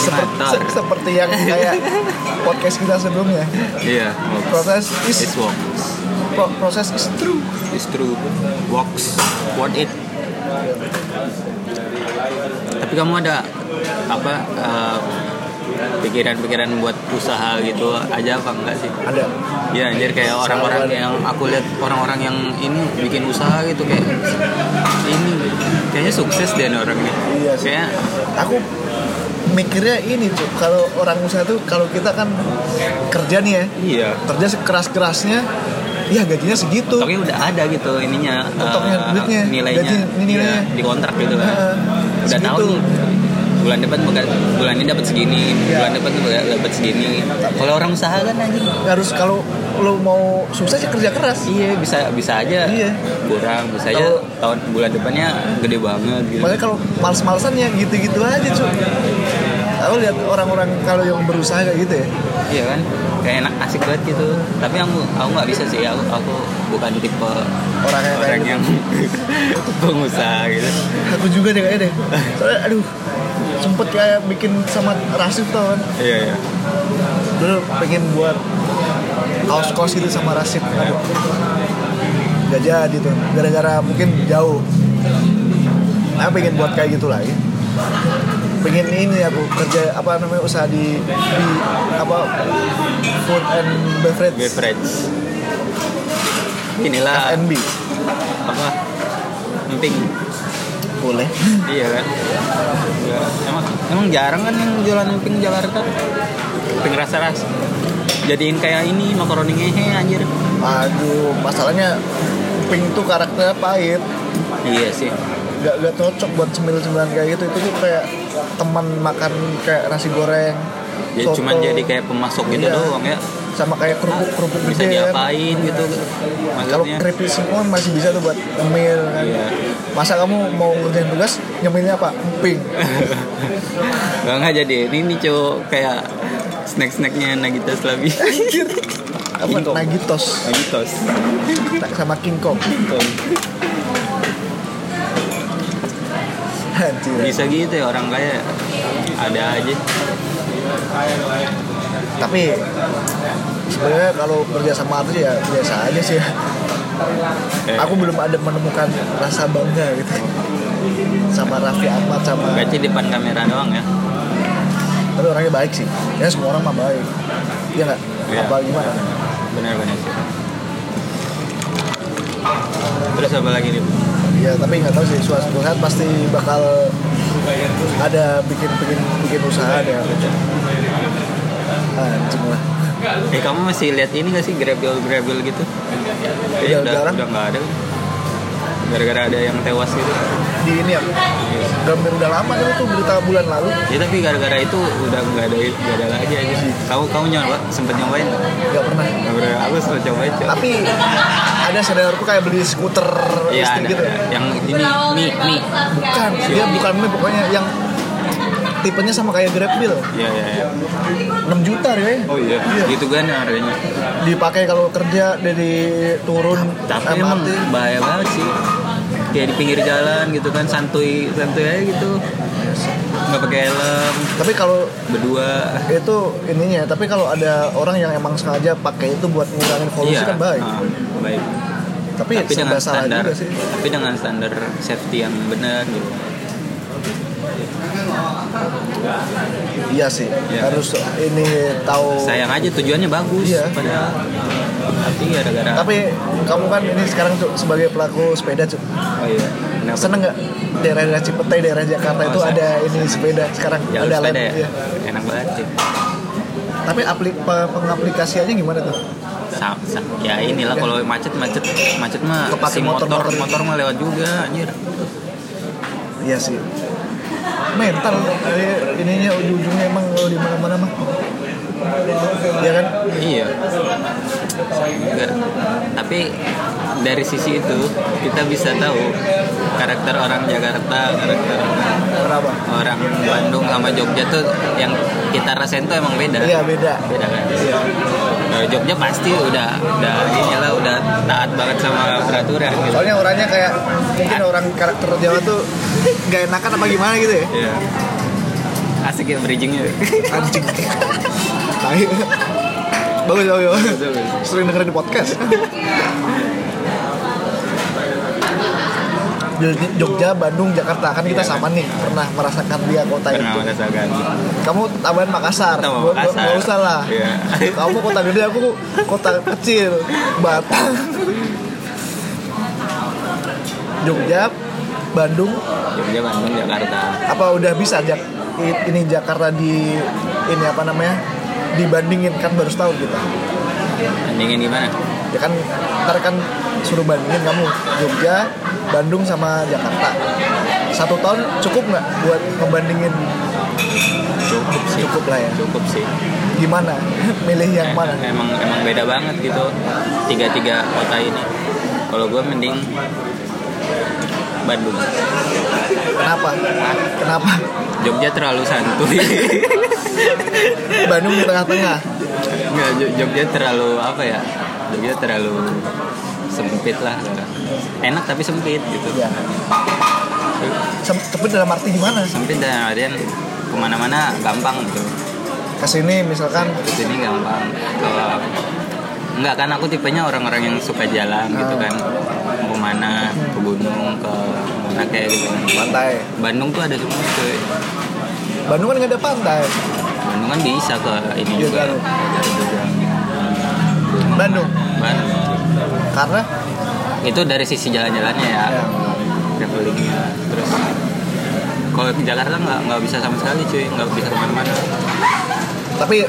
[SPEAKER 1] seperti,
[SPEAKER 2] animator
[SPEAKER 1] se- seperti yang kayak podcast kita sebelumnya
[SPEAKER 2] iya walks.
[SPEAKER 1] proses is
[SPEAKER 2] it's walk
[SPEAKER 1] pro- proses is true
[SPEAKER 2] it's true walks what it Tapi kamu ada apa eh, pikiran-pikiran buat usaha gitu aja apa enggak sih?
[SPEAKER 1] ada
[SPEAKER 2] Ya anjir kayak orang-orang yang aku lihat orang-orang yang ini bikin usaha gitu kayak ini kayaknya sukses deh nih orang ini.
[SPEAKER 1] Iya sih.
[SPEAKER 2] Kayak
[SPEAKER 1] aku mikirnya ini tuh kalau orang usaha tuh kalau kita kan kerja nih ya
[SPEAKER 2] iya.
[SPEAKER 1] kerja sekeras kerasnya ya gajinya segitu
[SPEAKER 2] Stoknya udah ada gitu ininya eh,
[SPEAKER 1] Stoknya, Oh, duitnya,
[SPEAKER 2] nilainya,
[SPEAKER 1] gaji, ini nilainya.
[SPEAKER 2] Iya, di kontrak gitu kan.
[SPEAKER 1] Heeh.
[SPEAKER 2] udah tahu
[SPEAKER 1] Segitu.
[SPEAKER 2] nih bulan depan bakal- bulan ini dapat segini,
[SPEAKER 1] Iya.
[SPEAKER 2] bulan depan bakal dapat segini. Kalau orang usaha kan anjing
[SPEAKER 1] Ya harus kalau lo mau sukses ya kerja keras
[SPEAKER 2] Iya bisa bisa aja
[SPEAKER 1] Iya.
[SPEAKER 2] kurang bisa aja
[SPEAKER 1] Kalau-
[SPEAKER 2] tahun bulan depannya gede banget gitu.
[SPEAKER 1] Makanya kalau males-malesan ya gitu-gitu aja cuy Aku lihat orang-orang kalau yang berusaha kayak gitu ya
[SPEAKER 2] Iya kan kayak enak asik banget gitu. Tapi aku aku nggak bisa sih aku aku bukan tipe
[SPEAKER 1] Orang yang kayak
[SPEAKER 2] orang yang pengusaha gitu.
[SPEAKER 1] gitu. Aku juga deh kayaknya deh Soalnya aduh Sempet kayak bikin sama Rasif tau kan
[SPEAKER 2] Iya iya.
[SPEAKER 1] Dulu pengen buat kaos-kaos gitu sama Rasif Aduh Gak jadi tuh Gara-gara mungkin jauh Aku pengen buat kayak gitu lagi pengen ini aku kerja apa namanya usaha di, di apa food and beverage
[SPEAKER 2] Beverage. Inilah
[SPEAKER 1] F&B
[SPEAKER 2] apa? Emping.
[SPEAKER 1] boleh
[SPEAKER 2] Iya kan. Ya, emang emang jarang kan yang jualan emping Jakarta. Emping rasa-rasa. Jadiin kayak ini makaroni ngehe anjir.
[SPEAKER 1] Aduh, masalahnya Pink tuh karakternya pahit,
[SPEAKER 2] Iya sih.
[SPEAKER 1] gak, gak cocok buat cemil-cemilan kayak gitu. Itu tuh kayak teman makan kayak nasi goreng,
[SPEAKER 2] Ya
[SPEAKER 1] soto,
[SPEAKER 2] cuman jadi kayak pemasok gitu
[SPEAKER 1] Iya.
[SPEAKER 2] doang ya.
[SPEAKER 1] sama kayak kerupuk kerupuk
[SPEAKER 2] Bisa
[SPEAKER 1] gede kan.
[SPEAKER 2] diapain gitu.
[SPEAKER 1] Kalau
[SPEAKER 2] Maksudnya.
[SPEAKER 1] keripik semua masih bisa tuh buat nyemil kan.
[SPEAKER 2] Iya.
[SPEAKER 1] Masa kamu mau ngerjain tugas nyemilnya apa? Pink.
[SPEAKER 2] Eh, Gak nggak jadi. Ini nih cowok kayak snack-snacknya Nagita Slavi.
[SPEAKER 1] Apa?
[SPEAKER 2] King Kong.
[SPEAKER 1] Nagitos
[SPEAKER 2] Nagitos.
[SPEAKER 1] Nah, sama King Kong. Anjir.
[SPEAKER 2] Bisa gitu ya orang kaya. Ada aja.
[SPEAKER 1] Tapi sebenarnya kalau kerja sama artis ya biasa aja sih. ya.
[SPEAKER 2] Eh,
[SPEAKER 1] aku belum ada menemukan rasa bangga gitu sama Raffi Ahmad sama
[SPEAKER 2] berarti depan kamera doang ya.
[SPEAKER 1] tapi orangnya baik sih ya semua orang mah baik ya nggak
[SPEAKER 2] Iya.
[SPEAKER 1] apa gimana
[SPEAKER 2] Benar-benar sih. Terus apa lagi nih?
[SPEAKER 1] ya tapi nggak tahu sih suatu saat pasti bakal ada bikin bikin bikin usaha deh anjing lah
[SPEAKER 2] Eh kamu masih lihat ini gak sih grabil grabil gitu?
[SPEAKER 1] Udah,
[SPEAKER 2] Iya udah
[SPEAKER 1] jarang.
[SPEAKER 2] udah nggak ada. Gara-gara ada yang tewas gitu.
[SPEAKER 1] di ini ya gambar udah lama kan itu berita bulan lalu
[SPEAKER 2] Ya tapi gara-gara itu udah nggak ada nggak ada lagi aja sih. Kamu kamu nyoba sempet nyobain?
[SPEAKER 1] nggak pernah
[SPEAKER 2] Nggak pernah. Aku sempet cobain. coy.
[SPEAKER 1] tapi ada seniorku kayak beli skuter
[SPEAKER 2] Iya
[SPEAKER 1] listrik
[SPEAKER 2] ada,
[SPEAKER 1] gitu
[SPEAKER 2] ada. Yang ini mi mi.
[SPEAKER 1] bukan dia bukan ini pokoknya yang tipenya sama kayak Grabbil
[SPEAKER 2] Iya iya. iya.
[SPEAKER 1] 6 juta deh
[SPEAKER 2] Oh iya.
[SPEAKER 1] Iya.
[SPEAKER 2] Gitu kan harganya.
[SPEAKER 1] dipakai kalau kerja dari turun
[SPEAKER 2] Tapi emang bahaya banget sih. Kayak di pinggir jalan gitu kan santuy santuy aja gitu. Nggak pakai helm
[SPEAKER 1] tapi kalau
[SPEAKER 2] berdua.
[SPEAKER 1] itu ininya tapi kalau ada orang yang emang sengaja pakai itu buat ngurangin polusi kan baik
[SPEAKER 2] ah, baik.
[SPEAKER 1] tapi,
[SPEAKER 2] tapi dengan
[SPEAKER 1] serba salah
[SPEAKER 2] standar
[SPEAKER 1] juga sih
[SPEAKER 2] tapi dengan standar safety yang benar gitu
[SPEAKER 1] iya sih
[SPEAKER 2] Iya.
[SPEAKER 1] harus ini tahu
[SPEAKER 2] sayang aja tujuannya bagus
[SPEAKER 1] Iya.
[SPEAKER 2] padahal ah, tapi gara-gara
[SPEAKER 1] tapi kamu kan ini sekarang Cuk, sebagai pelaku sepeda Cuk.
[SPEAKER 2] oh iya kenapa?
[SPEAKER 1] seneng nggak daerah-daerah Cipete daerah Jakarta
[SPEAKER 2] Oh,
[SPEAKER 1] itu
[SPEAKER 2] saya-
[SPEAKER 1] ada ini sepeda sekarang
[SPEAKER 2] jalur
[SPEAKER 1] ada
[SPEAKER 2] sepeda
[SPEAKER 1] lab,
[SPEAKER 2] ya
[SPEAKER 1] iya.
[SPEAKER 2] enak banget sih
[SPEAKER 1] tapi apli, pe- pengaplikasiannya gimana tuh
[SPEAKER 2] Sa- sa- ya inilah kalau macet macet macet mah
[SPEAKER 1] Kepake
[SPEAKER 2] si motor
[SPEAKER 1] motor-motor.
[SPEAKER 2] motor, mah lewat juga anjir
[SPEAKER 1] Iya sih. Mental eh, ininya ujung-ujungnya emang kalau di mana-mana mah. Ya kan?
[SPEAKER 2] iya Gara- tapi dari sisi itu kita bisa tahu karakter orang Jakarta karakter orang
[SPEAKER 1] Kenapa?
[SPEAKER 2] orang Bandung sama Jogja tuh yang kita rasain tuh emang beda.
[SPEAKER 1] Iya beda.
[SPEAKER 2] Beda kan.
[SPEAKER 1] Iya.
[SPEAKER 2] Nah, Jogja pasti udah udah inilah udah taat banget sama peraturan gitu.
[SPEAKER 1] Soalnya orangnya kayak mungkin orang karakter Jawa tuh nggak enakan apa gimana gitu ya.
[SPEAKER 2] Iya. Asik ya bridgingnya.
[SPEAKER 1] Anjing. Tai. bagus, bagus, bagus. Sering denger di podcast. Jog- Jogja, Bandung, Jakarta kan kita
[SPEAKER 2] Iya,
[SPEAKER 1] sama nih pernah merasakan dia kota
[SPEAKER 2] Pernah
[SPEAKER 1] itu.
[SPEAKER 2] merasakan.
[SPEAKER 1] Kamu tambahan Makassar,
[SPEAKER 2] Tambah
[SPEAKER 1] Gua- gua-
[SPEAKER 2] Makassar.
[SPEAKER 1] nggak usah lah.
[SPEAKER 2] Iya.
[SPEAKER 1] Kamu kota gede, aku kota kecil, Batang, Jogja, Bandung,
[SPEAKER 2] Jogja, Bandung, Jakarta.
[SPEAKER 1] apa udah bisa Jak i- ini Jakarta di ini apa namanya dibandingin kan baru setahun kita
[SPEAKER 2] Bandingin gimana?
[SPEAKER 1] ya kan ntar kan suruh bandingin kamu Jogja Bandung sama Jakarta satu tahun cukup nggak buat ngebandingin
[SPEAKER 2] Cukup sih.
[SPEAKER 1] cukup lah ya
[SPEAKER 2] Cukup sih.
[SPEAKER 1] gimana milih yang mana
[SPEAKER 2] Emang emang beda banget gitu tiga tiga kota ini. Kalau gue mending Bandung.
[SPEAKER 1] kenapa kenapa
[SPEAKER 2] Jogja terlalu santuy.
[SPEAKER 1] Bandung di tengah-tengah
[SPEAKER 2] Nggak, Jo- Jogja terlalu apa ya? Jogja terlalu sempit lah. Enak tapi sempit gitu.
[SPEAKER 1] ya Sem- tapi dalam arti gimana
[SPEAKER 2] Sempit dan kalian kemana-mana gampang gitu.
[SPEAKER 1] kesini misalkan
[SPEAKER 2] Kesini gampang. Kalau Enggak kan aku tipenya orang-orang yang suka jalan gitu
[SPEAKER 1] Ah.
[SPEAKER 2] kan mau mana ke gunung ke mana kayak gitu
[SPEAKER 1] pantai
[SPEAKER 2] Bandung tuh ada semua cuy
[SPEAKER 1] Bandung kan nggak ada pantai
[SPEAKER 2] Bandung kan bisa ke ini
[SPEAKER 1] Iya,
[SPEAKER 2] juga
[SPEAKER 1] kan. Bandung
[SPEAKER 2] Bandung
[SPEAKER 1] karena
[SPEAKER 2] itu dari sisi jalan-jalannya ya
[SPEAKER 1] ya,
[SPEAKER 2] travelingnya terus kalau ke Jakarta nggak nggak bisa sama sekali cuy nggak bisa kemana-mana
[SPEAKER 1] tapi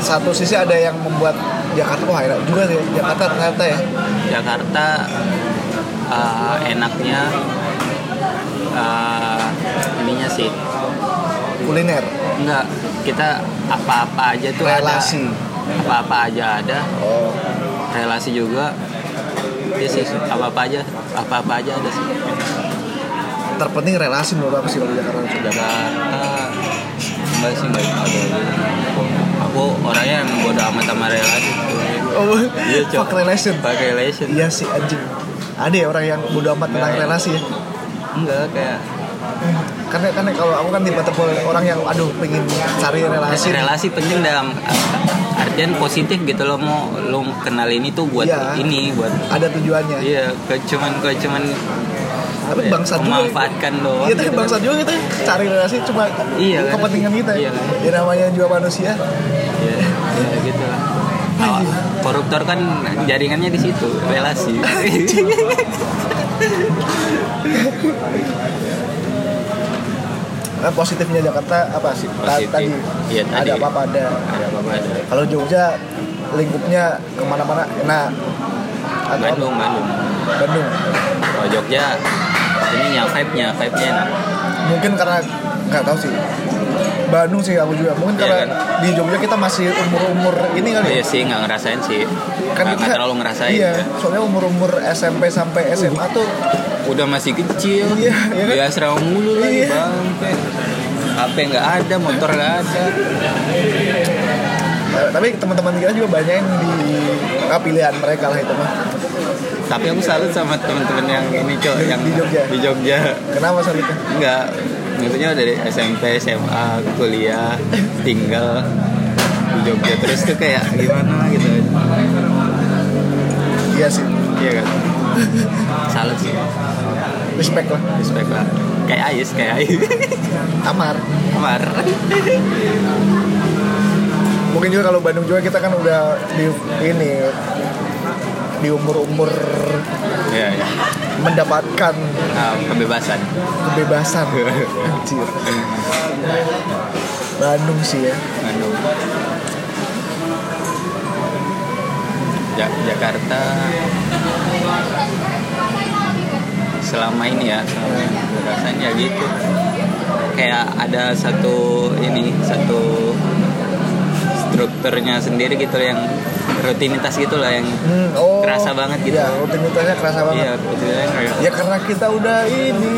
[SPEAKER 1] satu sisi ada yang membuat Jakarta wah enak juga sih Jakarta ternyata ya
[SPEAKER 2] Jakarta eh, enaknya eh, ininya sih
[SPEAKER 1] kuliner
[SPEAKER 2] nggak kita apa-apa aja tuh
[SPEAKER 1] Relasi.
[SPEAKER 2] ada apa-apa aja ada
[SPEAKER 1] oh
[SPEAKER 2] relasi juga ya sih apa-apa aja apa-apa aja ada sih
[SPEAKER 1] terpenting relasi menurut aku sih kalau di Jakarta
[SPEAKER 2] Jakarta enggak sih enggak ada aku orangnya yang bodo amat sama relasi
[SPEAKER 1] oh
[SPEAKER 2] Iya, Cok.
[SPEAKER 1] fuck relation
[SPEAKER 2] pakai relation
[SPEAKER 1] iya sih anjing ada ya orang yang bodo amat tentang
[SPEAKER 2] Iya.
[SPEAKER 1] relasi ya
[SPEAKER 2] enggak kayak
[SPEAKER 1] karena karena kalau aku kan tipe-tipe orang yang aduh pengen cari relasi
[SPEAKER 2] relasi penting dalam artian positif gitu lo mau lo kenal ini tuh buat
[SPEAKER 1] Iya.
[SPEAKER 2] ini buat
[SPEAKER 1] ada tujuannya
[SPEAKER 2] iya ke cuman ke cuman
[SPEAKER 1] tapi
[SPEAKER 2] apa ya,
[SPEAKER 1] bangsa Iya, juga
[SPEAKER 2] memanfaatkan doang
[SPEAKER 1] kita
[SPEAKER 2] gitu kan.
[SPEAKER 1] bangsa juga kita cari relasi cuma
[SPEAKER 2] Iya, kan?
[SPEAKER 1] kepentingan kita
[SPEAKER 2] Iya, kan?
[SPEAKER 1] ya namanya juga manusia
[SPEAKER 2] Iya, iya gitu lah. Kalau koruptor kan jaringannya di situ, relasi.
[SPEAKER 1] Iya. Nah, positifnya Jakarta apa sih Ta-
[SPEAKER 2] Positif.
[SPEAKER 1] tadi,
[SPEAKER 2] Iya, tadi.
[SPEAKER 1] ada apa-apa ada
[SPEAKER 2] Ada apa-apa ada.
[SPEAKER 1] kalau Jogja lingkupnya kemana-mana enak atau
[SPEAKER 2] Bandung, Bandung.
[SPEAKER 1] Bandung
[SPEAKER 2] Kalau Jogja ini yang vibe-nya, vibe-nya enak.
[SPEAKER 1] mungkin karena nggak tahu sih Bandung sih aku juga mungkin
[SPEAKER 2] Iya,
[SPEAKER 1] karena
[SPEAKER 2] kan?
[SPEAKER 1] di Jogja kita masih umur-umur ini kali ya
[SPEAKER 2] Iya sih nggak ngerasain sih.
[SPEAKER 1] Kan
[SPEAKER 2] Nggak nggak
[SPEAKER 1] kita-
[SPEAKER 2] terlalu ngerasain.
[SPEAKER 1] iya
[SPEAKER 2] ya.
[SPEAKER 1] soalnya umur-umur SMP sampai SMA tuh
[SPEAKER 2] Udah masih kecil.
[SPEAKER 1] Iya, iya kan?
[SPEAKER 2] Di asrama mulu lagi,
[SPEAKER 1] Iya.
[SPEAKER 2] Bang. HP nggak ada, motor nggak ada.
[SPEAKER 1] eh, tapi teman-teman kita juga banyak yang di ah, pilihan mereka lah itu mah
[SPEAKER 2] Tapi aku salut sama temen-temen yang ini, Cok,
[SPEAKER 1] Di-
[SPEAKER 2] yang
[SPEAKER 1] di Jogja.
[SPEAKER 2] Di Jogja.
[SPEAKER 1] kenapa soal itu
[SPEAKER 2] Enggak, maksudnya dari SMP, SMA, kuliah, tinggal di Jogja terus tuh kayak gimana gitu.
[SPEAKER 1] iya sih
[SPEAKER 2] Iya kan? Salut sih,
[SPEAKER 1] respect lah
[SPEAKER 2] respect lah. Kayak Ais, kayak Ais.
[SPEAKER 1] Amar
[SPEAKER 2] Kamar.
[SPEAKER 1] mungkin juga kalau Bandung juga kita kan udah di ini di umur-umur
[SPEAKER 2] Iya, iya.
[SPEAKER 1] mendapatkan
[SPEAKER 2] Nah, kebebasan.
[SPEAKER 1] kebebasan Anjir. Bandung sih ya
[SPEAKER 2] Bandung. Ja- Jakarta selama ini ya selama ini gue rasain ya gitu kayak ada satu ini satu strukturnya sendiri gitu yang rutinitas gitu lah yang
[SPEAKER 1] Hmm, oh,
[SPEAKER 2] Kerasa banget gitu.
[SPEAKER 1] Iya, rutinitasnya kerasa banget.
[SPEAKER 2] iya rutinitasnya kayak
[SPEAKER 1] Ya karena kita udah ini.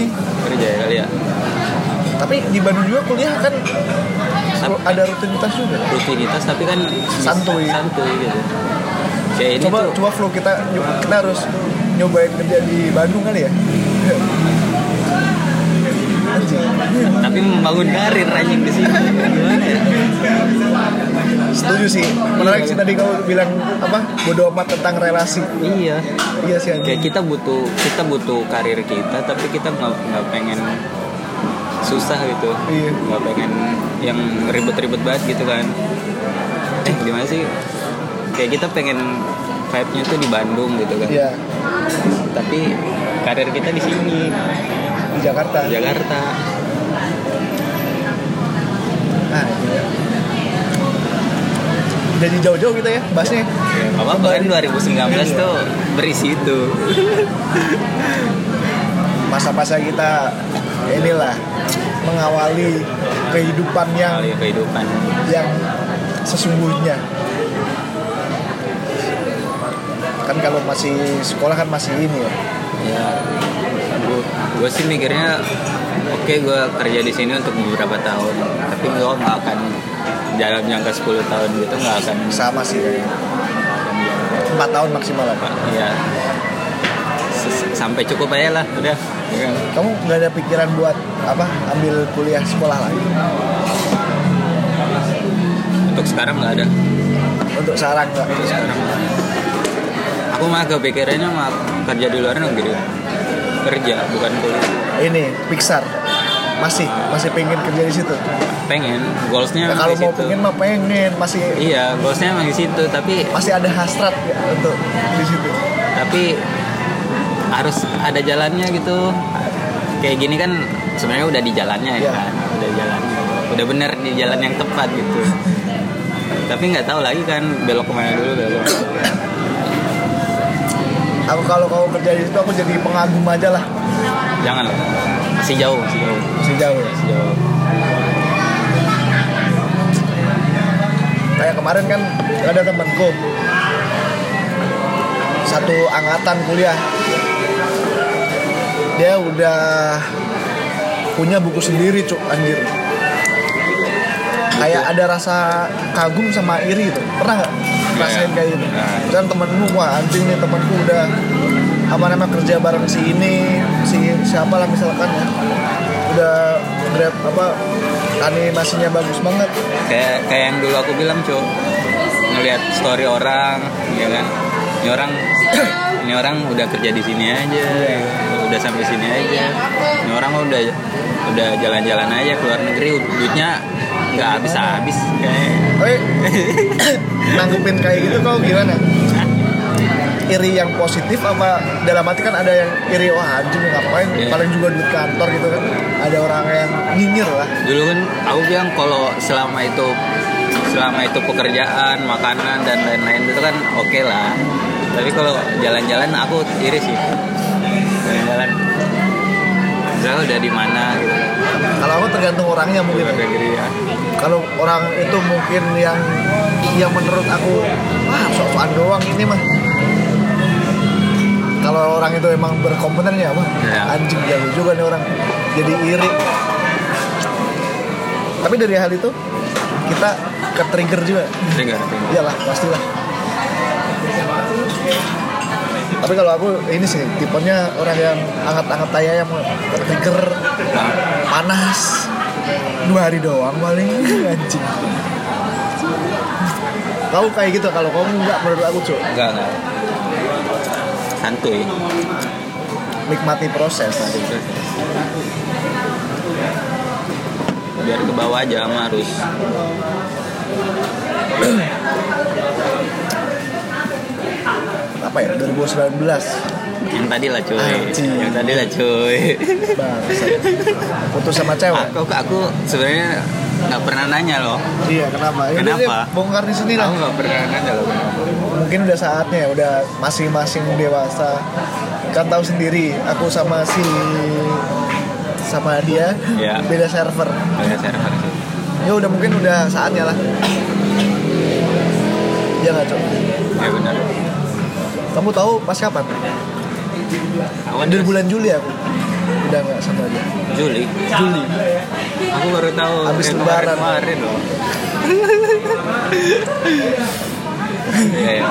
[SPEAKER 2] kerja ya kali ya
[SPEAKER 1] Tapi di Bandung juga kuliah kan
[SPEAKER 2] Tapi
[SPEAKER 1] ada rutinitas juga.
[SPEAKER 2] rutinitas tapi kan
[SPEAKER 1] Santuy.
[SPEAKER 2] santuy gitu kayak ini
[SPEAKER 1] Coba
[SPEAKER 2] tuh
[SPEAKER 1] coba flow kita kita harus
[SPEAKER 2] Iya.
[SPEAKER 1] nyobain kerja di Bandung kali ya. anjing
[SPEAKER 2] tapi membangun karir anjing di sini gimana ya
[SPEAKER 1] setuju sih menarik sih tadi kamu bilang apa bodoh amat tentang relasi
[SPEAKER 2] iya
[SPEAKER 1] iya sih
[SPEAKER 2] kayak gitu.
[SPEAKER 1] anjing
[SPEAKER 2] kita butuh kita butuh karir kita tapi kita nggak nggak pengen susah gitu
[SPEAKER 1] Iya.
[SPEAKER 2] nggak pengen yang ribet-ribet banget gitu kan eh gimana sih kayak kita pengen vibe-nya tuh di Bandung gitu kan
[SPEAKER 1] iya
[SPEAKER 2] tapi karir kita di sini
[SPEAKER 1] di Jakarta
[SPEAKER 2] di Jakarta
[SPEAKER 1] nah iya. jadi jauh-jauh kita ya bahasnya
[SPEAKER 2] apa apa kan 2019
[SPEAKER 1] Iya.
[SPEAKER 2] tuh berisi itu
[SPEAKER 1] masa-masa kita ya inilah mengawali kehidupan yang
[SPEAKER 2] kali kehidupan
[SPEAKER 1] yang sesungguhnya kan kalau masih sekolah kan masih ini ya
[SPEAKER 2] ya gue sih mikirnya oke gue kerja di sini untuk beberapa tahun tapi gue nggak akan dalam jangka 10 tahun gitu nggak akan
[SPEAKER 1] sama sih kayaknya. empat tahun maksimal lah Pak.
[SPEAKER 2] ya ses- sampai cukup aja lah udah ya kan?
[SPEAKER 1] kamu nggak ada pikiran buat apa ambil kuliah sekolah lagi
[SPEAKER 2] untuk sekarang nggak ada
[SPEAKER 1] untuk sarang nggak
[SPEAKER 2] untuk sekarang nggak ada. aku mah kepikirannya mah kerja di luar negeri kerja bukan kuliah
[SPEAKER 1] ini Pixar masih masih pengen kerja di situ
[SPEAKER 2] pengen
[SPEAKER 1] ya,
[SPEAKER 2] goalsnya emang
[SPEAKER 1] kalau
[SPEAKER 2] di
[SPEAKER 1] mau
[SPEAKER 2] situ.
[SPEAKER 1] pengen mah pengen masih
[SPEAKER 2] iya goalsnya emang di situ tapi
[SPEAKER 1] masih ada hasrat ya untuk di situ
[SPEAKER 2] tapi harus ada jalannya gitu kayak gini kan sebenarnya udah di jalannya ya
[SPEAKER 1] Iya.
[SPEAKER 2] kan udah di jalan udah bener di jalan yang tepat gitu tapi nggak tahu lagi kan belok kemana dulu belok
[SPEAKER 1] aku kalau kamu kerja di situ aku jadi pengagum aja lah
[SPEAKER 2] jangan lah masih jauh masih jauh
[SPEAKER 1] masih jauh ya.
[SPEAKER 2] masih jauh
[SPEAKER 1] kayak kemarin kan ada temanku satu angkatan kuliah dia udah punya buku sendiri cuk anjir kayak ada rasa kagum sama iri itu pernah nggak rasain
[SPEAKER 2] Iya.
[SPEAKER 1] kayak gitu
[SPEAKER 2] Nah.
[SPEAKER 1] dan temenmu wah anjing nih temanku udah apa namanya kerja bareng si ini si siapa lah misalkan ya udah grab apa animasinya bagus banget
[SPEAKER 2] kayak kayak yang dulu aku bilang cuy ngelihat story orang ya kan ini orang ini orang udah kerja di sini aja udah sampai sini aja ini orang mah udah udah jalan-jalan aja keluar negeri duitnya nggak habis-habis kayak
[SPEAKER 1] Oke, nanggepin kayak gitu kau gimana? Iri yang positif apa dalam hati kan ada yang iri wah anjing ngapain?
[SPEAKER 2] Iya.
[SPEAKER 1] Paling juga duit kantor gitu kan. Ada orang yang nyinyir lah.
[SPEAKER 2] dulu kan aku bilang kalau selama itu selama itu pekerjaan makanan dan lain-lain itu kan oke lah tapi kalau jalan-jalan aku iri sih jalan-jalan misalnya udah di mana gitu
[SPEAKER 1] Kalau aku tergantung orangnya mungkin.
[SPEAKER 2] Luar negeri ya
[SPEAKER 1] Kalau orang itu mungkin yang yang menurut aku wah sok-sokan doang ini mah. Kalau orang itu emang berkompeten ya mah
[SPEAKER 2] Iya.
[SPEAKER 1] anjing jago juga nih orang. Jadi iri. Tapi dari hal itu kita ke trigger juga.
[SPEAKER 2] Dengar, dengar.
[SPEAKER 1] Iyalah, pastilah. Tapi kalau aku ini sih tipenya orang yang angkat-angkat tay ayam, trigger
[SPEAKER 2] Nah,
[SPEAKER 1] panas dua hari doang paling anjing. Kau kayak gitu kalau kamu nggak menurut aku cuy
[SPEAKER 2] enggak enggak santuy
[SPEAKER 1] nikmati proses.
[SPEAKER 2] biar ke bawah aja sama harus
[SPEAKER 1] Apa ya 2019
[SPEAKER 2] yang tadi lah cuy
[SPEAKER 1] Anjing.
[SPEAKER 2] yang tadi lah cuy
[SPEAKER 1] bangsa putus sama cewek.
[SPEAKER 2] aku aku sebenarnya nggak pernah nanya loh
[SPEAKER 1] Iya kenapa? Ya,
[SPEAKER 2] Kenapa?
[SPEAKER 1] udah deh, Bongkar di sini lah.
[SPEAKER 2] aku nggak pernah nanya loh
[SPEAKER 1] mungkin udah saatnya udah masing-masing dewasa kan tahu sendiri aku sama si sama dia
[SPEAKER 2] Iya.
[SPEAKER 1] beda server
[SPEAKER 2] Beda server sih.
[SPEAKER 1] ya udah mungkin udah saatnya lah ya nggak cok
[SPEAKER 2] ya benar
[SPEAKER 1] kamu tahu pas kapan
[SPEAKER 2] awal
[SPEAKER 1] dari bulan Juli aku udah nggak sama dia
[SPEAKER 2] Juli
[SPEAKER 1] Juli
[SPEAKER 2] aku baru tahu
[SPEAKER 1] Habis
[SPEAKER 2] yang
[SPEAKER 1] lebaran.
[SPEAKER 2] kemarin loh Iya, iya.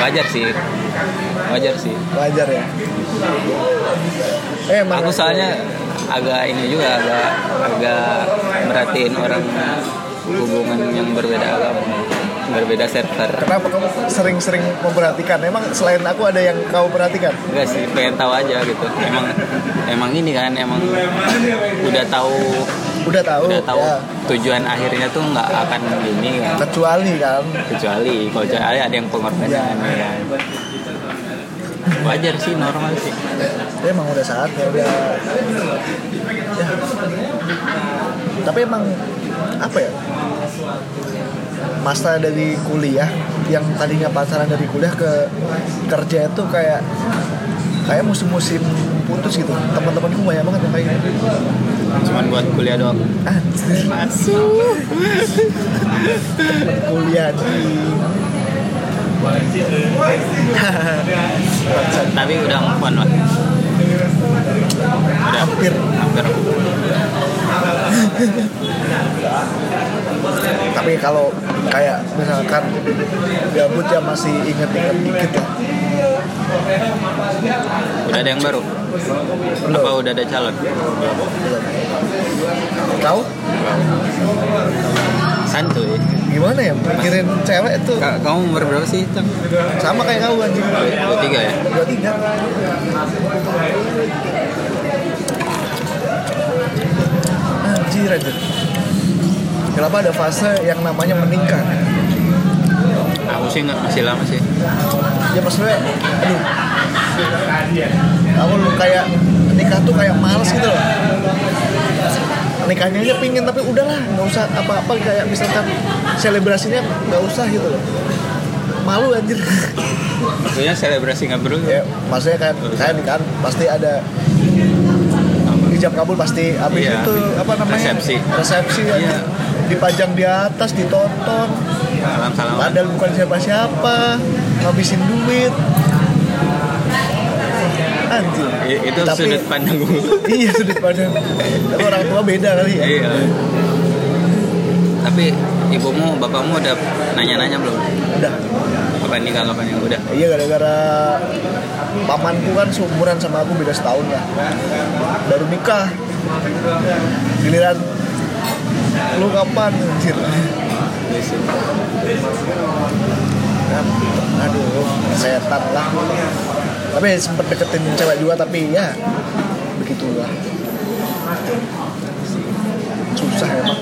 [SPEAKER 2] wajar sih wajar sih
[SPEAKER 1] wajar ya eh, emang
[SPEAKER 2] aku soalnya agak ini juga agak agak merhatiin orang hubungan yang berbeda agama berbeda server
[SPEAKER 1] Kenapa kamu sering-sering memperhatikan? Emang selain aku ada yang kau perhatikan?
[SPEAKER 2] enggak sih pengen tahu aja gitu emang emang ini kan emang udah tahu
[SPEAKER 1] Udah tahu.
[SPEAKER 2] udah tahu
[SPEAKER 1] ya.
[SPEAKER 2] tujuan akhirnya tuh nggak akan gini kan
[SPEAKER 1] Kecuali kan.
[SPEAKER 2] kecuali kalau kecuali ada yang pengorbanan ya. kan. wajar sih normal sih
[SPEAKER 1] Ya, emang udah saatnya udah. Ya. Tapi emang apa ya? Masa dari kuliah yang tadinya pacaran dari kuliah ke kerja itu kayak kayak musim-musim putus gitu. Teman-temanku banyak banget yang kayak gitu.
[SPEAKER 2] cuman buat kuliah doang
[SPEAKER 1] Anjir. kuliah di
[SPEAKER 2] tapi udah move on lah udah
[SPEAKER 1] hampir
[SPEAKER 2] hampir
[SPEAKER 1] tapi kalau kayak misalkan gabut ya masih inget-inget dikit ya. lah
[SPEAKER 2] udah ada yang baru apa
[SPEAKER 1] belum
[SPEAKER 2] udah ada calon
[SPEAKER 1] belum. kau
[SPEAKER 2] santuy
[SPEAKER 1] gimana ya mikirin cewek tuh
[SPEAKER 2] Ka- kamu umur berapa sih Tam?
[SPEAKER 1] sama kayak kau anjing
[SPEAKER 2] dua tiga ya
[SPEAKER 1] dua tiga anjir anjir kenapa ada fase yang namanya menikah
[SPEAKER 2] aku sih nggak masih lama sih
[SPEAKER 1] ya maksudnya aduh aku lu kayak nikah tuh kayak males gitu loh nikahnya aja pingin tapi udahlah nggak usah apa-apa kayak misalkan selebrasinya nggak usah gitu loh malu anjir
[SPEAKER 2] maksudnya selebrasi nggak perlu
[SPEAKER 1] ya maksudnya kan saya kan pasti ada hijab kabul pasti habis
[SPEAKER 2] Iya.
[SPEAKER 1] itu apa namanya
[SPEAKER 2] Resepsi.
[SPEAKER 1] resepsi anjir.
[SPEAKER 2] Iya.
[SPEAKER 1] dipajang di atas ditonton
[SPEAKER 2] salam salaman
[SPEAKER 1] padahal bukan siapa-siapa habisin duit anjir
[SPEAKER 2] I- itu
[SPEAKER 1] Tapi-
[SPEAKER 2] sudut pandangku
[SPEAKER 1] iya sudut pandang tapi orang tua beda kali ya
[SPEAKER 2] iya tapi ibumu bapakmu udah nanya nanya belum
[SPEAKER 1] udah
[SPEAKER 2] kapan nikah kapan yang udah
[SPEAKER 1] iya gara-gara pamanku kan seumuran sama aku beda setahun lah baru nikah giliran lu kapan anjir Kan, aduh setan lah tapi sempet deketin cewek juga tapi ya begitulah susah emang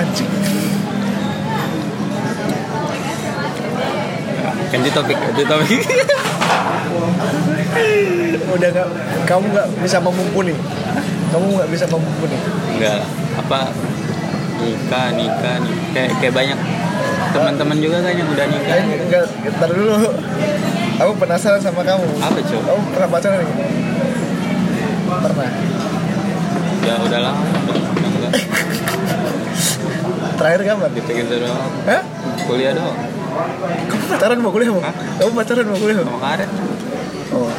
[SPEAKER 1] anjing
[SPEAKER 2] ganti Kan topik ganti topik
[SPEAKER 1] udah nggak kamu nggak bisa memumpuni kamu nggak bisa memumpuni
[SPEAKER 2] enggak apa nikah nikah nikah kayak, kayak banyak teman-teman juga kan yang udah nikah
[SPEAKER 1] Eh, enggak ntar dulu aku penasaran sama kamu
[SPEAKER 2] apa coba
[SPEAKER 1] kamu pernah pacaran nggak? pernah
[SPEAKER 2] ya udah lama udah enggak
[SPEAKER 1] terakhir kapan
[SPEAKER 2] dipikir dulu
[SPEAKER 1] Hah?
[SPEAKER 2] kuliah doang
[SPEAKER 1] kamu pacaran mau kuliah mau
[SPEAKER 2] Hah?
[SPEAKER 1] kamu pacaran mau kuliah mau
[SPEAKER 2] sama karet
[SPEAKER 1] oh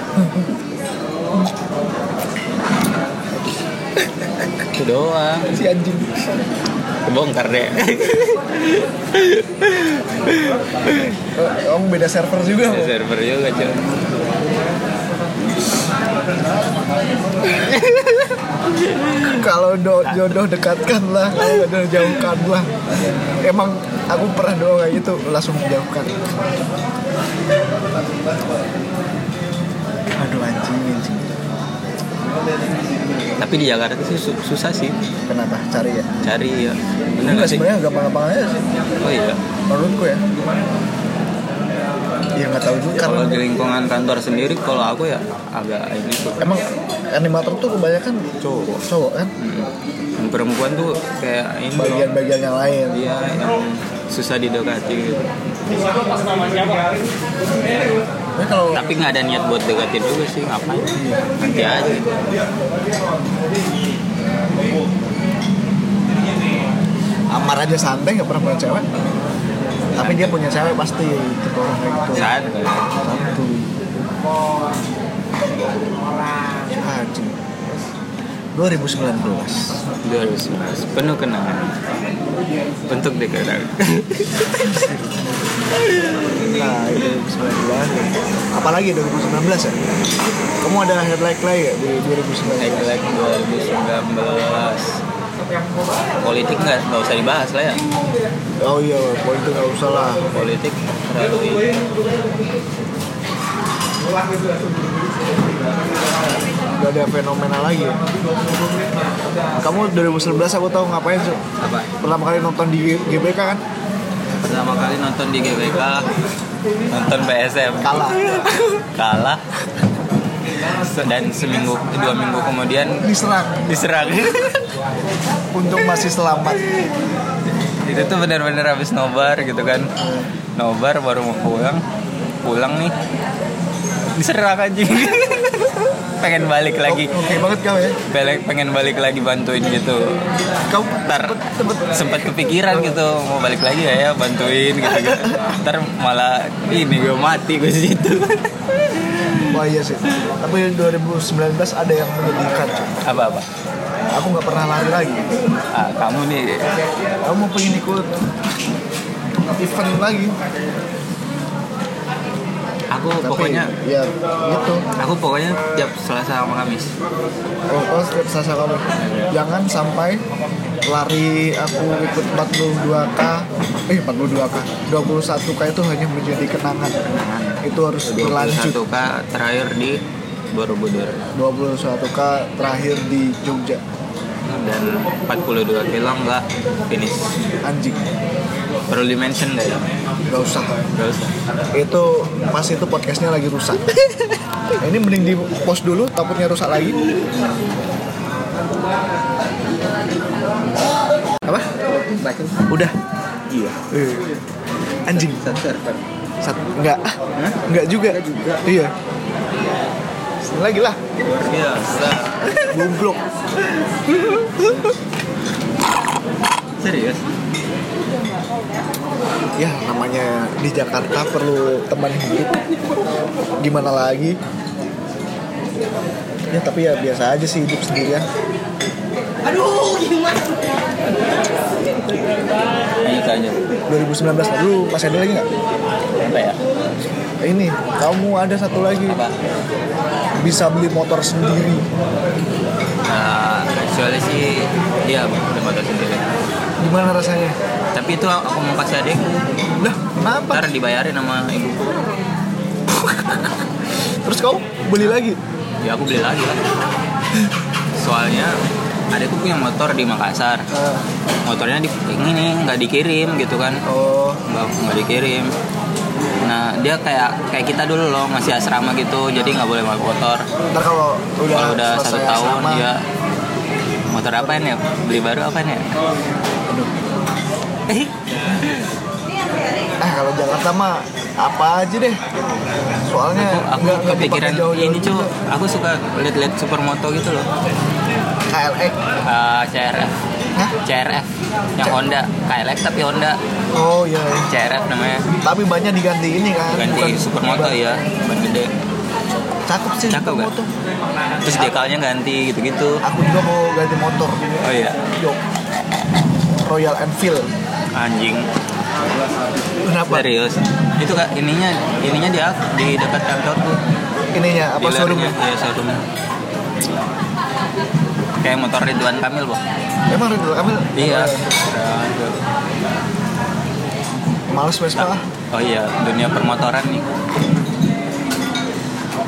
[SPEAKER 2] itu doang
[SPEAKER 1] si anjing
[SPEAKER 2] kebongkar deh
[SPEAKER 1] Oh, kamu beda server juga
[SPEAKER 2] Ada
[SPEAKER 1] mau
[SPEAKER 2] server juga cuy
[SPEAKER 1] kalau do- jodoh dekatkan lah kalau nggak jodoh jauhkan lah emang aku pernah doa kayak gitu langsung menjauhkan aduh anjing anjing
[SPEAKER 2] tapi di Jakarta sih su- susah sih
[SPEAKER 1] kenapa cari ya
[SPEAKER 2] cari ya bener
[SPEAKER 1] enggak
[SPEAKER 2] nggak sih
[SPEAKER 1] sebenarnya gampang-gampang aja sih
[SPEAKER 2] oh iya
[SPEAKER 1] menurutku ya ya nggak tahu juga karena
[SPEAKER 2] kalau di lingkungan kantor sendiri kalau aku ya agak ini tuh
[SPEAKER 1] emang animator tuh kebanyakan
[SPEAKER 2] cowok
[SPEAKER 1] cowok kan
[SPEAKER 2] Hmm. Yang perempuan tuh kayak ini loh.
[SPEAKER 1] bagian-bagian yang lain
[SPEAKER 2] dia yang Iya, susah didekati gitu.
[SPEAKER 1] tapi kalau
[SPEAKER 2] tapi nggak ada niat buat deketin juga sih ngapain nanti aja
[SPEAKER 1] Nah, Amar aja santai nggak pernah punya cewek tapi dia punya cewek pasti gitu orang kayak gitu
[SPEAKER 2] saat kayak
[SPEAKER 1] satu anjing 2019
[SPEAKER 2] 2019 penuh kenangan bentuk dekatan
[SPEAKER 1] Nah, itu 2019. Apalagi 2019 ya? Kamu ada headlight lain ya di 2019?
[SPEAKER 2] Hackback 2019 politik nggak nggak usah dibahas lah ya
[SPEAKER 1] Oh iya, poin itu nggak usah lah.
[SPEAKER 2] politik terlalu ini.
[SPEAKER 1] Gak ada fenomena lagi. ya? Kamu 2019 aku tahu ngapain sih?
[SPEAKER 2] apa
[SPEAKER 1] Pertama kali nonton di GBK kan?
[SPEAKER 2] pertama kali nonton di GBK nonton PSM
[SPEAKER 1] Kalah.
[SPEAKER 2] kalah dan seminggu dua minggu kemudian
[SPEAKER 1] Diserang.
[SPEAKER 2] diserang
[SPEAKER 1] Untung masih selamat.
[SPEAKER 2] itu tuh benar-benar habis nobar gitu kan nobar baru mau pulang pulang nih diserang aja pengen balik lagi
[SPEAKER 1] Oke banget kau ya.
[SPEAKER 2] Balik- pengen balik lagi bantuin gitu
[SPEAKER 1] Kau
[SPEAKER 2] ntar sempat kepikiran gitu mau balik lagi nggak ya bantuin gitu, gitu. ntar malah ini gue mati gue situ
[SPEAKER 1] Wah iya sih. Tapi 2019 ada yang menyedihkan. cuy.
[SPEAKER 2] apa apa
[SPEAKER 1] Aku nggak pernah lari lagi.
[SPEAKER 2] ah, kamu nih
[SPEAKER 1] Kamu pengen ikut event lagi?
[SPEAKER 2] aku
[SPEAKER 1] Tapi,
[SPEAKER 2] pokoknya
[SPEAKER 1] ya gitu.
[SPEAKER 2] aku pokoknya tiap selasa sama kamis
[SPEAKER 1] Oh, oh setiap Selasa kamu. Jangan sampai lari aku ikut 42k eh 42k 21k itu hanya menjadi kenangan itu harus berlanjut
[SPEAKER 2] 21 k terakhir di Borobudur
[SPEAKER 1] 21k terakhir di Jogja
[SPEAKER 2] dan 42 kilo nggak finish
[SPEAKER 1] anjing
[SPEAKER 2] perlu di mention nggak ya
[SPEAKER 1] nggak usah
[SPEAKER 2] Nggak usah.
[SPEAKER 1] itu pas itu podcastnya lagi rusak ini mending di post dulu takutnya rusak lagi apa udah
[SPEAKER 2] iya
[SPEAKER 1] Eh, anjing
[SPEAKER 2] satu server
[SPEAKER 1] Sat, enggak Ah, enggak juga. iya Sini lagi lah
[SPEAKER 2] luar biasa
[SPEAKER 1] goblok
[SPEAKER 2] serius
[SPEAKER 1] ya namanya di Jakarta perlu teman hidup gimana lagi ya tapi ya biasa aja sih hidup sendirian
[SPEAKER 2] ini aja
[SPEAKER 1] 2019 dulu masih ada lagi nggak
[SPEAKER 2] apa ya
[SPEAKER 1] ini kamu ada satu lagi
[SPEAKER 2] apa
[SPEAKER 1] bisa beli motor sendiri
[SPEAKER 2] Nah, soalnya sih iya, dia bermotor sendiri.
[SPEAKER 1] gimana rasanya
[SPEAKER 2] Tapi itu aku mau kasih adik,
[SPEAKER 1] lah kenapa
[SPEAKER 2] ntar dibayarin sama ibuku.
[SPEAKER 1] terus kau beli lagi
[SPEAKER 2] Ya aku beli lagi lah. Soalnya adikku punya motor di Makassar.
[SPEAKER 1] Ah,
[SPEAKER 2] Motornya di ini nggak dikirim gitu kan?
[SPEAKER 1] oh
[SPEAKER 2] Nggak nggak dikirim. Nah dia kayak kayak kita dulu loh masih asrama gitu, jadi nggak boleh bawa motor.
[SPEAKER 1] ntar kalau udah, iya.
[SPEAKER 2] Kalau udah
[SPEAKER 1] selesai
[SPEAKER 2] satu tahun
[SPEAKER 1] Ya, asrama,
[SPEAKER 2] dia motor apa ya? Beli baru apa ya? Eh,
[SPEAKER 1] ah kalau Jakarta mah apa aja deh soalnya
[SPEAKER 2] aku, aku
[SPEAKER 1] nggak- nggak
[SPEAKER 2] kepikiran
[SPEAKER 1] dipakai jauh-jauh
[SPEAKER 2] ini cuy
[SPEAKER 1] juga.
[SPEAKER 2] aku suka lihat-lihat supermoto gitu loh
[SPEAKER 1] KLX
[SPEAKER 2] Ah, CRF
[SPEAKER 1] E. Hah?
[SPEAKER 2] CRF yang
[SPEAKER 1] C-
[SPEAKER 2] Honda KLX tapi Honda
[SPEAKER 1] oh iya iya.
[SPEAKER 2] CRF namanya
[SPEAKER 1] tapi banyak diganti ini kan
[SPEAKER 2] ganti
[SPEAKER 1] bukan-
[SPEAKER 2] supermoto
[SPEAKER 1] bukan-
[SPEAKER 2] ya ban gede
[SPEAKER 1] cakep sih
[SPEAKER 2] Cakep nggak?
[SPEAKER 1] motor
[SPEAKER 2] terus dekalnya ganti gitu-gitu
[SPEAKER 1] aku juga mau ganti motor
[SPEAKER 2] oh iya
[SPEAKER 1] Yo. Royal Enfield
[SPEAKER 2] anjing
[SPEAKER 1] kenapa
[SPEAKER 2] serius itu kak ininya ininya di di dekat kantorku
[SPEAKER 1] ininya apa
[SPEAKER 2] Dealernya,
[SPEAKER 1] showroomnya
[SPEAKER 2] iya showroomnya kayak motor Ridwan Kamil bang
[SPEAKER 1] Emang Ridwan Kamil?
[SPEAKER 2] iya
[SPEAKER 1] Males Vespa ah.
[SPEAKER 2] oh iya dunia permotoran nih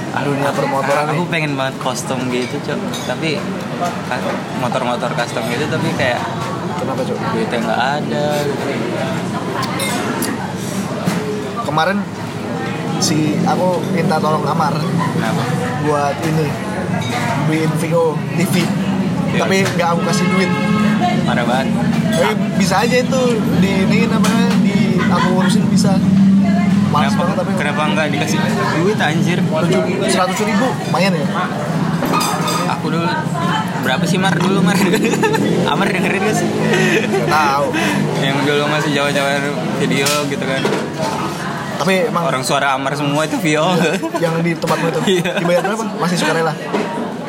[SPEAKER 1] Ah, Dunia permotoran
[SPEAKER 2] aku
[SPEAKER 1] nih
[SPEAKER 2] pengen banget kostum gitu cok tapi ka- motor-motor custom gitu tapi kayak
[SPEAKER 1] Kenapa Cok?
[SPEAKER 2] duitnya nggak ada
[SPEAKER 1] Kemarin si aku minta tolong kamar
[SPEAKER 2] kenapa
[SPEAKER 1] buat ini beliin VO TV
[SPEAKER 2] Iya. Ah.
[SPEAKER 1] tapi nggak aku kasih duit
[SPEAKER 2] parah banget
[SPEAKER 1] tapi bisa aja itu di ini namanya di aku urusin bisa males banget
[SPEAKER 2] kenapa
[SPEAKER 1] tapi
[SPEAKER 2] kenapa nggak dikasih duit anjir
[SPEAKER 1] seratus ribu lumayan ya
[SPEAKER 2] aku dulu berapa sih mar dulu mar Amar dengerin gak sih
[SPEAKER 1] Nggak tahu
[SPEAKER 2] yang dulu masih jawa-jawa video gitu kan
[SPEAKER 1] tapi emang
[SPEAKER 2] orang suara Amar semua itu Vio
[SPEAKER 1] yang di tempatmu itu
[SPEAKER 2] Iya.
[SPEAKER 1] dibayar berapa masih sukarela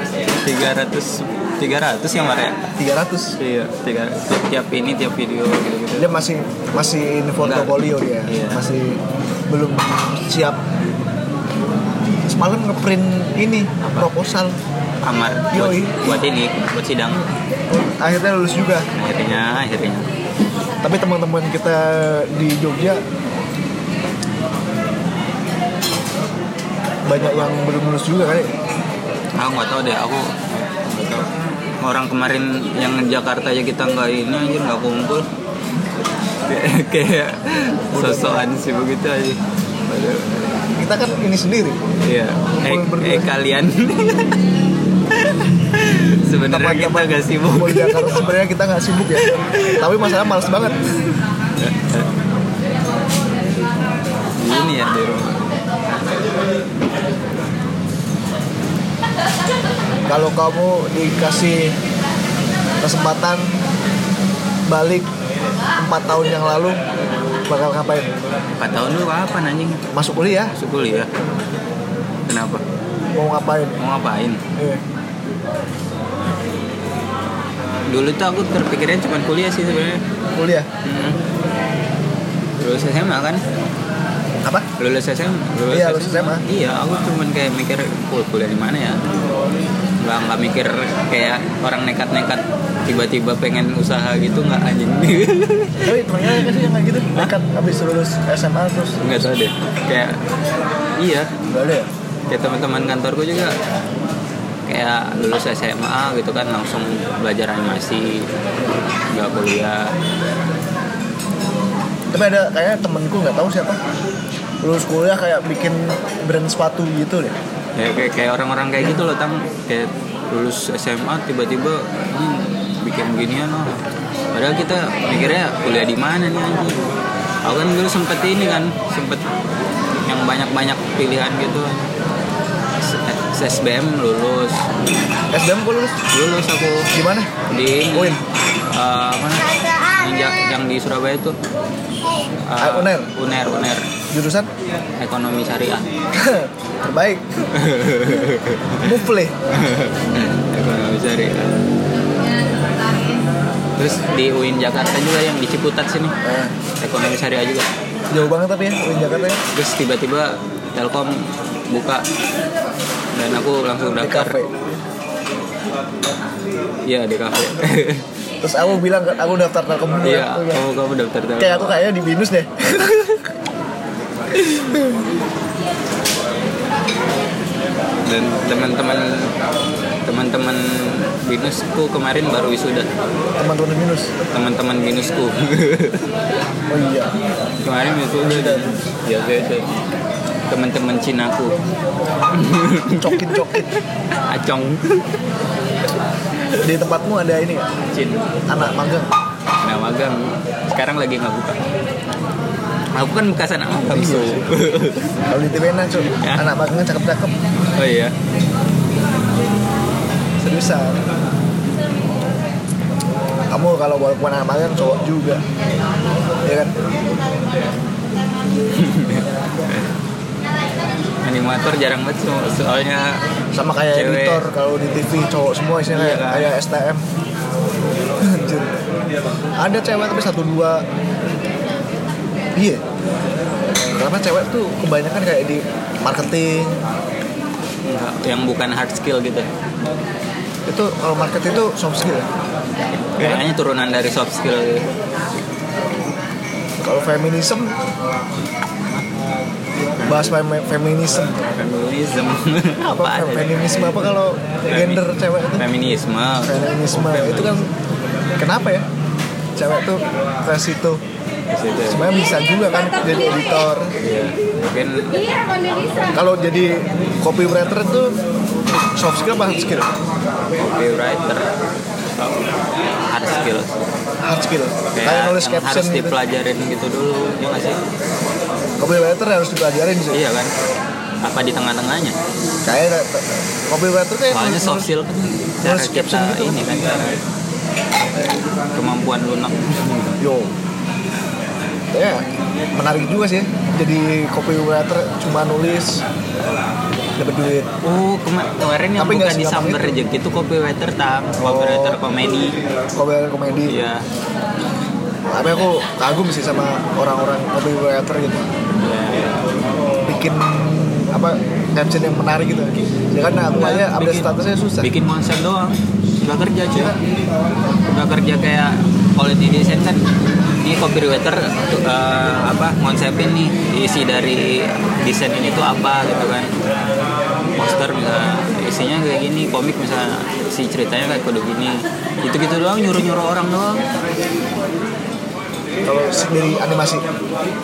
[SPEAKER 2] 300 300 ya Mar ya?
[SPEAKER 1] 300
[SPEAKER 2] Iya, 300. Tiap, tiap ini tiap video gitu-gitu.
[SPEAKER 1] dia masih masih ini portofolio dia
[SPEAKER 2] Iya.
[SPEAKER 1] masih belum siap semalam ngeprint ini proposal
[SPEAKER 2] Amar buat,
[SPEAKER 1] Yoi.
[SPEAKER 2] buat ini buat sidang
[SPEAKER 1] akhirnya lulus juga
[SPEAKER 2] akhirnya akhirnya
[SPEAKER 1] tapi teman-teman kita di Jogja banyak yang belum lulus juga kan ya?
[SPEAKER 2] aku nggak tahu deh aku nggak tahu. orang kemarin yang Jakarta aja kita nggak ini aja nggak kumpul Kayak- kayak sosokan sih begitu aja Padahal-
[SPEAKER 1] kita kan ini sendiri
[SPEAKER 2] iya eh,
[SPEAKER 1] Kumpul berdua.
[SPEAKER 2] eh, kalian sebenarnya kita
[SPEAKER 1] Teman-teman Mau
[SPEAKER 2] nggak sibuk
[SPEAKER 1] di Jakarta sebenarnya kita nggak sibuk ya tapi masalah males banget
[SPEAKER 2] ini ya di rumah
[SPEAKER 1] kalau kamu dikasih kesempatan balik empat tahun yang lalu bakal ngapain
[SPEAKER 2] empat tahun dulu kapan anjing
[SPEAKER 1] masuk kuliah ya?
[SPEAKER 2] masuk kuliah kenapa
[SPEAKER 1] mau ngapain
[SPEAKER 2] mau ngapain
[SPEAKER 1] Iya.
[SPEAKER 2] dulu tuh aku terpikirnya cuma kuliah sih sebenarnya
[SPEAKER 1] kuliah
[SPEAKER 2] Mm. lulus SMA kan
[SPEAKER 1] apa
[SPEAKER 2] lulus SMA lulus
[SPEAKER 1] Iya, lulus SMA.
[SPEAKER 2] iya aku cuman kayak mikir "Kul- kuliah di mana ya nggak nggak mikir kayak orang nekat-nekat tiba-tiba pengen usaha gitu nggak anjing
[SPEAKER 1] tapi temennya ada sih yang kayak gitu nekat habis lulus SMA terus
[SPEAKER 2] nggak tahu deh kayak iya
[SPEAKER 1] nggak ada ya
[SPEAKER 2] kayak teman-teman kantorku juga kayak lulus SMA gitu kan langsung belajar animasi nggak kuliah
[SPEAKER 1] tapi ada kayaknya temenku nggak tahu siapa lulus kuliah kayak bikin brand sepatu gitu deh
[SPEAKER 2] ya kayak kayak orang-orang kayak gitu loh tang kayak lulus SMA tiba-tiba "Hmm, bikin beginian loh padahal kita mikirnya kuliah di mana nih anjing aku kan dulu sempet ini kan sempet yang banyak-banyak pilihan gitu S- SBM lulus
[SPEAKER 1] SBM ku lulus
[SPEAKER 2] lulus aku
[SPEAKER 1] gimana
[SPEAKER 2] di ini,
[SPEAKER 1] Uin.
[SPEAKER 2] eh, apa namanya? yang, yang di Surabaya itu eh,
[SPEAKER 1] Ah, Uner.
[SPEAKER 2] Uner Uner
[SPEAKER 1] jurusan
[SPEAKER 2] ekonomi syariah
[SPEAKER 1] terbaik mufle Hmm,
[SPEAKER 2] ekonomi syariah terus di UIN Jakarta juga yang di Ciputat sini
[SPEAKER 1] nah,
[SPEAKER 2] ekonomi syariah juga
[SPEAKER 1] jauh banget tapi ya UIN Jakarta ya
[SPEAKER 2] terus tiba-tiba Telkom buka dan aku langsung
[SPEAKER 1] di
[SPEAKER 2] daftar
[SPEAKER 1] kafe
[SPEAKER 2] iya di kafe
[SPEAKER 1] terus aku bilang kan, aku daftar telkom dulu
[SPEAKER 2] iya
[SPEAKER 1] Aku bilang,
[SPEAKER 2] kamu kamu daftar Telkom
[SPEAKER 1] kayak aku kayaknya di binus deh
[SPEAKER 2] dan teman-teman teman-teman binusku kemarin baru wisuda
[SPEAKER 1] teman-teman di binus
[SPEAKER 2] teman-teman binusku
[SPEAKER 1] oh iya
[SPEAKER 2] kemarin wisuda dan ya biasa teman-teman Cinaku
[SPEAKER 1] cokin cokin
[SPEAKER 2] acong
[SPEAKER 1] di tempatmu ada ini nggak?
[SPEAKER 2] Cin
[SPEAKER 1] anak magang
[SPEAKER 2] nah magang sekarang lagi nggak buka aku kan bekasan anak magang so.
[SPEAKER 1] kalau di TVNA cuy
[SPEAKER 2] Ya.
[SPEAKER 1] anak magangnya cakep-cakep
[SPEAKER 2] oh iya
[SPEAKER 1] seriusan kamu kalau walaupun anak magang cowok juga ya kan
[SPEAKER 2] animator jarang banget so- soalnya
[SPEAKER 1] sama kayak
[SPEAKER 2] Cewek.
[SPEAKER 1] editor kalau di TV cowok semua isinya
[SPEAKER 2] Iya
[SPEAKER 1] kayak,
[SPEAKER 2] kan?
[SPEAKER 1] kayak STM Anjir. ada cewek tapi satu dua iya karena cewek tuh kebanyakan kayak di marketing
[SPEAKER 2] nggak- yang bukan hard skill gitu
[SPEAKER 1] itu kalau marketing itu soft skill Iya kan? ya.
[SPEAKER 2] kayaknya turunan dari soft skill gitu.
[SPEAKER 1] kalau feminism bahas fem- feminism
[SPEAKER 2] feminism
[SPEAKER 1] apa
[SPEAKER 2] apa
[SPEAKER 1] feminisme apa kalau gender cewek itu
[SPEAKER 2] feminisme
[SPEAKER 1] feminisme itu kan kenapa ya cewek tuh ke situ
[SPEAKER 2] di situ
[SPEAKER 1] sebenarnya bisa juga kan jadi editor
[SPEAKER 2] Iya. mungkin
[SPEAKER 3] Iya, Vanessa.
[SPEAKER 1] kalau jadi copywriter itu soft skill apa hard skill
[SPEAKER 2] copywriter atau hard skill
[SPEAKER 1] hard skill kayak
[SPEAKER 2] kayak
[SPEAKER 1] nulis
[SPEAKER 2] yang
[SPEAKER 1] caption
[SPEAKER 2] harus
[SPEAKER 1] gitu
[SPEAKER 2] dipelajarin gitu dulu ya nggak sih
[SPEAKER 1] copywriter harus dipelajarin sih
[SPEAKER 2] iya kan apa di tengah-tengahnya
[SPEAKER 1] kayak t- copywriter kayak
[SPEAKER 2] soalnya
[SPEAKER 1] nulis-
[SPEAKER 2] soft skill kan cara
[SPEAKER 1] nulis
[SPEAKER 2] kita
[SPEAKER 1] caption gitu kan.
[SPEAKER 2] ini kan cara kemampuan lunak
[SPEAKER 1] yo ya menarik juga sih jadi copywriter cuma nulis dapat duit
[SPEAKER 2] Oh, kema- kemarin yang
[SPEAKER 1] Tapi
[SPEAKER 2] buka
[SPEAKER 1] nggak
[SPEAKER 2] di
[SPEAKER 1] segampang
[SPEAKER 2] Sambar
[SPEAKER 1] itu. Oh.
[SPEAKER 2] Rejeki itu copywriter tam, copywriter komedi.
[SPEAKER 1] copywriter komedi
[SPEAKER 2] Iya.
[SPEAKER 1] tapi aku kagum sih sama orang-orang copywriter gitu
[SPEAKER 2] Iya.
[SPEAKER 1] bikin apa caption yang menarik gitu ya kan aku aja update
[SPEAKER 2] Bikin-
[SPEAKER 1] statusnya susah
[SPEAKER 2] Bikin konsep doang. Nggak kerja cuy. Nggak kerja kayak quality design kan. Ini copywriter eh, apa konsepin nih isi dari desain ini tuh apa gitu kan. Poster misalnya isinya kayak gini, komik misalnya si ceritanya kayak kode gini. Gitu-gitu doang nyuruh-nyuruh orang doang.
[SPEAKER 1] kalau dari animasi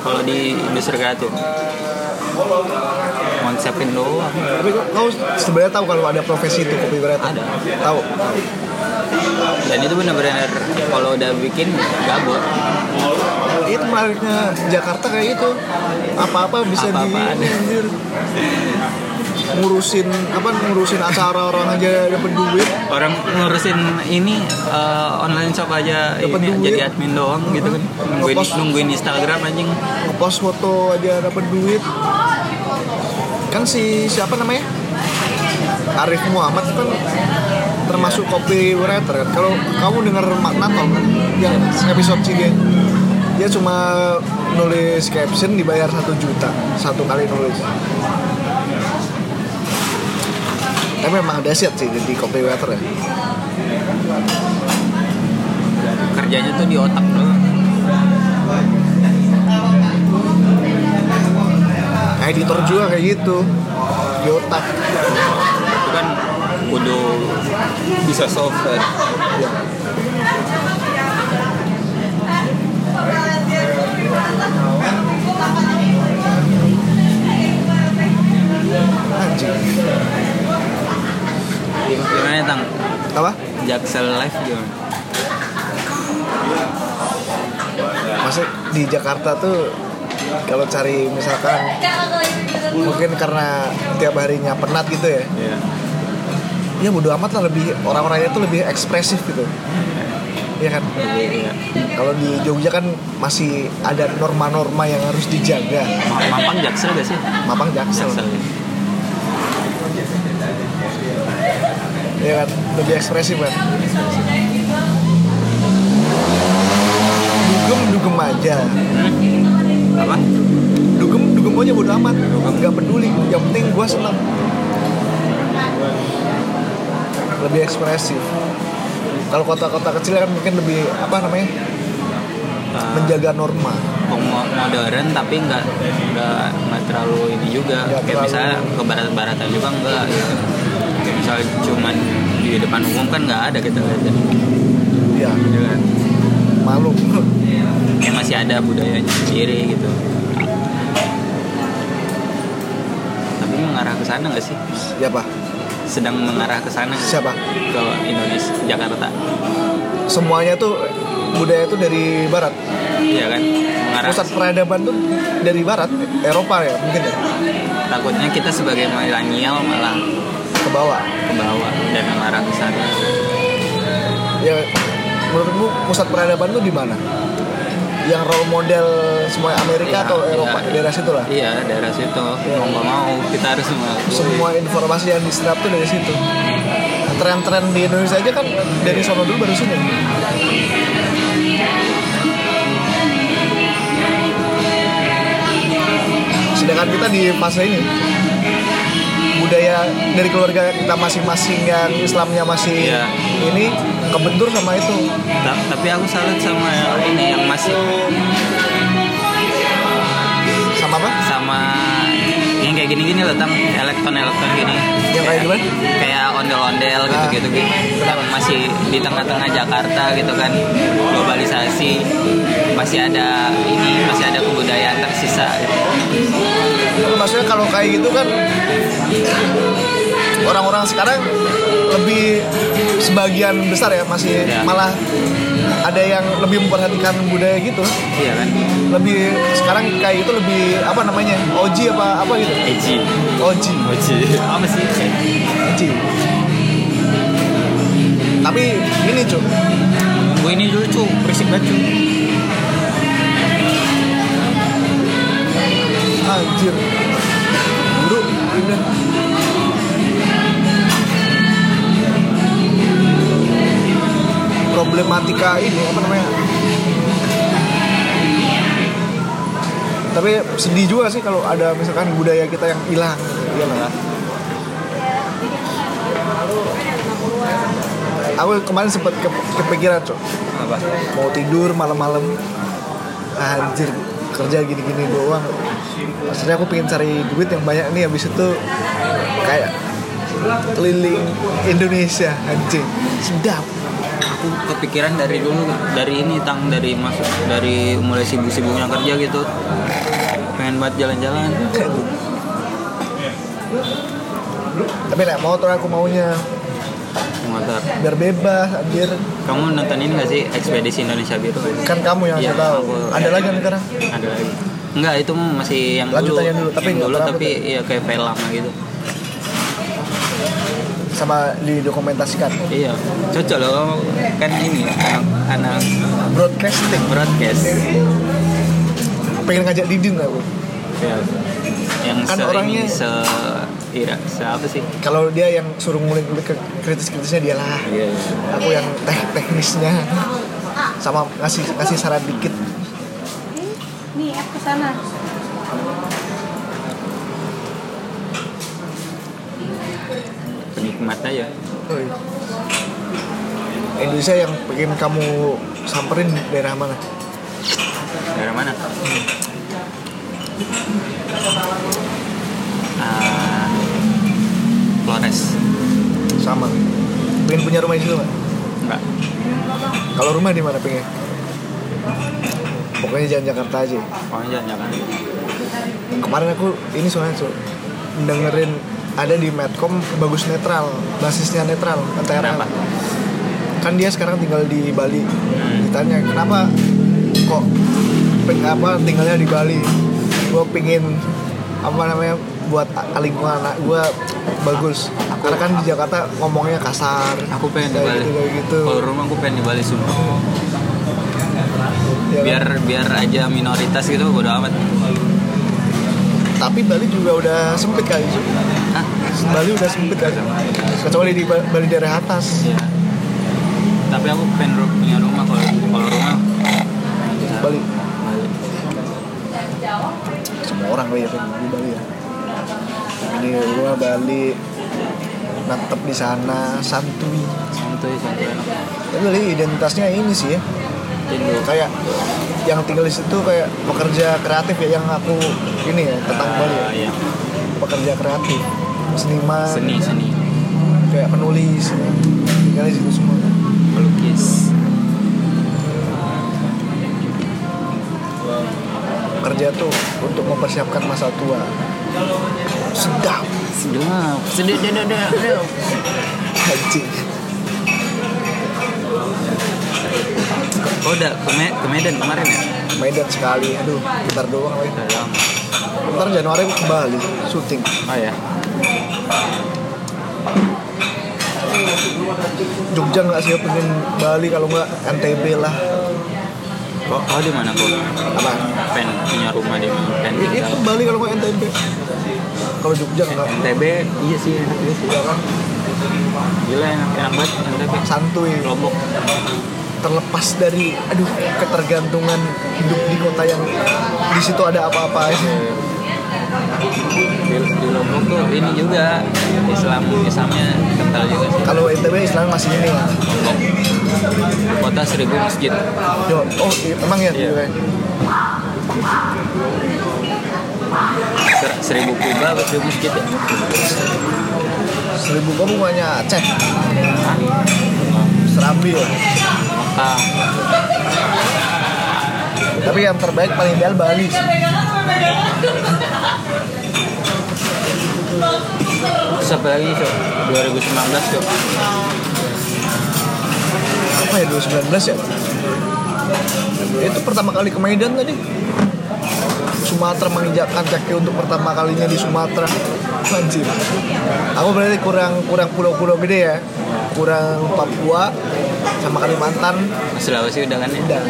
[SPEAKER 2] kalau di industri kreatif konsepin doang
[SPEAKER 1] tapi kau sebenarnya tahu kalau ada profesi itu copywriter
[SPEAKER 2] Ada.
[SPEAKER 1] tahu
[SPEAKER 2] dan itu benar-benar kalau udah bikin gabut
[SPEAKER 1] itu menariknya Jakarta kayak itu apa-apa bisa di
[SPEAKER 2] Apa-apaan.
[SPEAKER 1] anjir. ngurusin apa ngurusin acara orang aja dapat duit
[SPEAKER 2] orang ngurusin ini eh, online shop aja
[SPEAKER 1] Dapat
[SPEAKER 2] ini
[SPEAKER 1] duit.
[SPEAKER 2] jadi admin doang gitu kan nungguin
[SPEAKER 1] Ngepost.
[SPEAKER 2] nungguin Instagram anjing
[SPEAKER 1] ngepost foto aja dapat duit kan si siapa namanya Arif Muhammad kan termasuk copywriter kan kalau kamu dengar makna Tom kan yang episode sih dia dia cuma nulis caption dibayar satu juta satu kali nulis tapi memang dahsyat sih jadi copywriter ya
[SPEAKER 2] kerjanya tuh di otak doang
[SPEAKER 1] editor juga kayak gitu di otak
[SPEAKER 2] itu kan kudu bisa software
[SPEAKER 1] anjing
[SPEAKER 2] gimana tang
[SPEAKER 1] apa
[SPEAKER 2] jaksel live gimana
[SPEAKER 1] Maksudnya di Jakarta tuh kalau cari misalkan mungkin karena tiap harinya penat gitu ya ya bodo amat lah lebih orang-orangnya tuh lebih ekspresif gitu Iya kan
[SPEAKER 2] Iya.
[SPEAKER 1] kalau di Jogja kan masih ada norma-norma yang harus dijaga
[SPEAKER 2] Ma- mampang jaksel gak sih
[SPEAKER 1] Mapang Jaksel
[SPEAKER 2] jaksel
[SPEAKER 1] Iya kan lebih ekspresif kan dugem dugem aja
[SPEAKER 2] apa
[SPEAKER 1] dugem dugem aja bodo amat nggak peduli yang penting gue senang lebih ekspresif kalau kota-kota kecil kan mungkin lebih apa namanya
[SPEAKER 2] Eh,
[SPEAKER 1] menjaga norma
[SPEAKER 2] pemo- modern tapi nggak nggak nggak terlalu ini juga
[SPEAKER 1] Nggak
[SPEAKER 2] kayak
[SPEAKER 1] terlalu-
[SPEAKER 2] misalnya ke barat-baratan juga enggak gitu. kayak misalnya cuman di depan umum kan nggak ada kita lihat ya.
[SPEAKER 1] ya
[SPEAKER 2] Gitu kan.
[SPEAKER 1] malu
[SPEAKER 2] kayak masih ada budayanya sendiri gitu tapi mengarah ke sana nggak sih
[SPEAKER 1] siapa
[SPEAKER 2] sedang mengarah ke sana nggak sih?
[SPEAKER 1] Iya, siapa
[SPEAKER 2] ke Indonesia Jakarta
[SPEAKER 1] semuanya tuh budaya tuh dari barat
[SPEAKER 2] iya kan mengarah
[SPEAKER 1] pusat peradaban tuh dari barat Eropa ya mungkin ya
[SPEAKER 2] takutnya kita sebagai milenial malah
[SPEAKER 1] ke bawah
[SPEAKER 2] ke bawah dan mengarah ke sana
[SPEAKER 1] ya menurutmu pusat peradaban tuh di mana yang role model semua Amerika
[SPEAKER 2] Ya,
[SPEAKER 1] atau Eropa
[SPEAKER 2] ya.
[SPEAKER 1] daerah situ lah
[SPEAKER 2] Iya daerah situ mau nggak mau kita harus mengakui.
[SPEAKER 1] semua informasi yang diserap tuh dari situ tren-tren di Indonesia aja kan dari sono dulu baru sini sedangkan kita di fase ini budaya dari keluarga kita masing-masing yang Islamnya masih
[SPEAKER 2] Iya.
[SPEAKER 1] ini kebentur sama itu
[SPEAKER 2] Ta- tapi aku salut sama yang ini yang masih
[SPEAKER 1] sama apa?
[SPEAKER 2] sama yang kayak gini-gini loh tam elektron elektron gini
[SPEAKER 1] Yang kayak gimana?
[SPEAKER 2] kayak ondel-ondel gitu-gitu gitu Yang masih di tengah-tengah Jakarta gitu kan globalisasi masih ada ini masih ada kebudayaan tersisa gitu.
[SPEAKER 1] maksudnya kalau kayak gitu kan orang-orang sekarang lebih sebagian besar ya masih
[SPEAKER 2] Ya.
[SPEAKER 1] malah ada yang lebih memperhatikan budaya gitu
[SPEAKER 2] iya kan
[SPEAKER 1] lebih sekarang kayak itu lebih apa namanya oji apa apa gitu
[SPEAKER 2] Eji
[SPEAKER 1] oji
[SPEAKER 2] Eji apa sih
[SPEAKER 1] oji tapi ini cuy
[SPEAKER 2] gue ini lucu berisik banget cuy.
[SPEAKER 1] anjir buruk udah problematika ini apa namanya tapi sedih juga sih kalau ada misalkan budaya kita yang hilang iya lah aku kemarin sempat ke- kepikiran cok
[SPEAKER 2] apa
[SPEAKER 1] mau tidur malam-malam Ah, anjir kerja gini-gini doang maksudnya aku pengen cari duit yang banyak nih habis itu kayak keliling Indonesia anjing sedap
[SPEAKER 2] aku kepikiran dari dulu dari ini tang dari masuk dari mulai sibuk-sibuknya kerja gitu pengen banget jalan-jalan
[SPEAKER 1] gitu. tapi naik motor aku maunya
[SPEAKER 2] naik motor
[SPEAKER 1] biar bebas anjir
[SPEAKER 2] kamu nonton ini gak sih ekspedisi Indonesia Biru
[SPEAKER 1] kan kamu yang
[SPEAKER 2] Iya,
[SPEAKER 1] saya tahu
[SPEAKER 2] aku-
[SPEAKER 1] ada lagi kan sekarang
[SPEAKER 2] ada lagi enggak itu mah masih yang dulu
[SPEAKER 1] Lanjutannya dulu, tapi
[SPEAKER 2] yang
[SPEAKER 1] nggak
[SPEAKER 2] dulu
[SPEAKER 1] pernah
[SPEAKER 2] tapi ya kayak film lama gitu
[SPEAKER 1] sama didokumentasikan
[SPEAKER 2] iya cocok loh kamu kan ini anak, anak
[SPEAKER 1] broadcasting
[SPEAKER 2] broadcast
[SPEAKER 1] pengen ngajak Didin aku
[SPEAKER 2] Iya. yang
[SPEAKER 1] Kan
[SPEAKER 2] se
[SPEAKER 1] orangnya-
[SPEAKER 2] ini se iya se apa sih
[SPEAKER 1] kalau dia yang suruh ngulik-ngulik ke kritis-kritisnya dia lah
[SPEAKER 2] iya
[SPEAKER 1] aku yang teh teknisnya sama ngasih ngasih saran dikit
[SPEAKER 3] Nih, aku sana.
[SPEAKER 2] penikmat aja
[SPEAKER 1] Oi. Indonesia yang pengen kamu samperin daerah mana?
[SPEAKER 2] Daerah mana? Ah, Flores.
[SPEAKER 1] Sama. Pengen punya rumah di situ nggak?
[SPEAKER 2] Enggak.
[SPEAKER 1] Kalau rumah di mana pengen? Pokoknya jangan Jakarta aja.
[SPEAKER 2] Pokoknya jangan jangan.
[SPEAKER 1] Kemarin aku ini soalnya so, dengerin ada di Medcom bagus netral, basisnya netral, NTRL.
[SPEAKER 2] Kenapa?
[SPEAKER 1] Kan dia sekarang tinggal di Bali.
[SPEAKER 2] Hmm.
[SPEAKER 1] Ditanya kenapa kok peng- apa tinggalnya di Bali? Gue pengen apa namanya buat a- lingkungan anak gue bagus. Karena kan di Jakarta ngomongnya kasar.
[SPEAKER 2] Aku pengen di
[SPEAKER 1] kayak
[SPEAKER 2] Bali.
[SPEAKER 1] gitu, kayak gitu.
[SPEAKER 2] Kalau rumah aku pengen di Bali sumpah.
[SPEAKER 1] Ya kan?
[SPEAKER 2] Biar biar aja minoritas gitu bodo amat.
[SPEAKER 1] Tapi Bali juga udah sempit kali Su.
[SPEAKER 2] Hah?
[SPEAKER 1] Bali udah sempit kali. Kecuali di Ba- Bali daerah atas.
[SPEAKER 2] Iya. Tapi aku pengen ru- punya rumah kalau kalau rumah bisa.
[SPEAKER 1] Bali.
[SPEAKER 2] Bali.
[SPEAKER 1] Semua orang kali ya kan di Bali ya. Ini rumah Bali nantep di sana santuy.
[SPEAKER 2] Santuy santuy.
[SPEAKER 1] Tapi Bali identitasnya ini sih ya.
[SPEAKER 2] Indo.
[SPEAKER 1] Kayak yang tinggal di situ kayak pekerja kreatif ya yang aku ini ya tentang Bali ya.
[SPEAKER 2] Ah, iya.
[SPEAKER 1] Pekerja kreatif, seniman,
[SPEAKER 2] Seni seni.
[SPEAKER 1] kayak penulis. Ya. Tinggal di situ semua.
[SPEAKER 2] Melukis.
[SPEAKER 1] Kerja tuh untuk mempersiapkan masa tua. Sedap.
[SPEAKER 2] Sedap. Sedap. Sedap. Sedap. sedap.
[SPEAKER 1] Anjing.
[SPEAKER 2] Oh udah ke, Me- ke Medan kemarin ya?
[SPEAKER 1] Medan sekali, aduh, bentar doang lagi.
[SPEAKER 2] Udah lama.
[SPEAKER 1] Ntar Januari aku ke Bali, syuting.
[SPEAKER 2] Oh ya.
[SPEAKER 1] Jogja nggak sih, aku pengen Bali kalau nggak NTB lah.
[SPEAKER 2] Kok kau di mana kok?
[SPEAKER 1] Apa?
[SPEAKER 2] Pen punya rumah di mana? Pen
[SPEAKER 1] I- Itu Bali kalau nggak NTB. Kalau Jogja nggak,
[SPEAKER 2] NTB iya sih enak juga sih.
[SPEAKER 1] ya kan?
[SPEAKER 2] Gila enak enak banget NTB.
[SPEAKER 1] Santuy,
[SPEAKER 2] Lombok.
[SPEAKER 1] terlepas dari aduh ketergantungan hidup di kota yang di situ ada apa-apa.
[SPEAKER 2] Di, di Lombok tuh ini juga Islam Islamnya kental juga sih.
[SPEAKER 1] Kalau NTB Islam masih ini. ya.
[SPEAKER 2] Lombok. Kota seribu masjid.
[SPEAKER 1] Yo, oh i- emang ya?
[SPEAKER 2] Iya. Ser- seribu kubah apa seribu masjid ya?
[SPEAKER 1] Seribu kamu banyak Aceh,
[SPEAKER 2] Hah?
[SPEAKER 1] Serambi ya.
[SPEAKER 2] Mekah.
[SPEAKER 1] Tapi yang terbaik paling ideal Bali. sih.
[SPEAKER 2] Terus apa lagi Cok? 2019 Cok.
[SPEAKER 1] apa ya 2019 ya itu pertama kali ke Medan tadi Sumatera menginjakkan kaki untuk pertama kalinya di Sumatera anjir aku berarti kurang kurang pulau-pulau gede ya kurang Papua sama Kalimantan
[SPEAKER 2] Sulawesi udah kan ya?
[SPEAKER 1] dan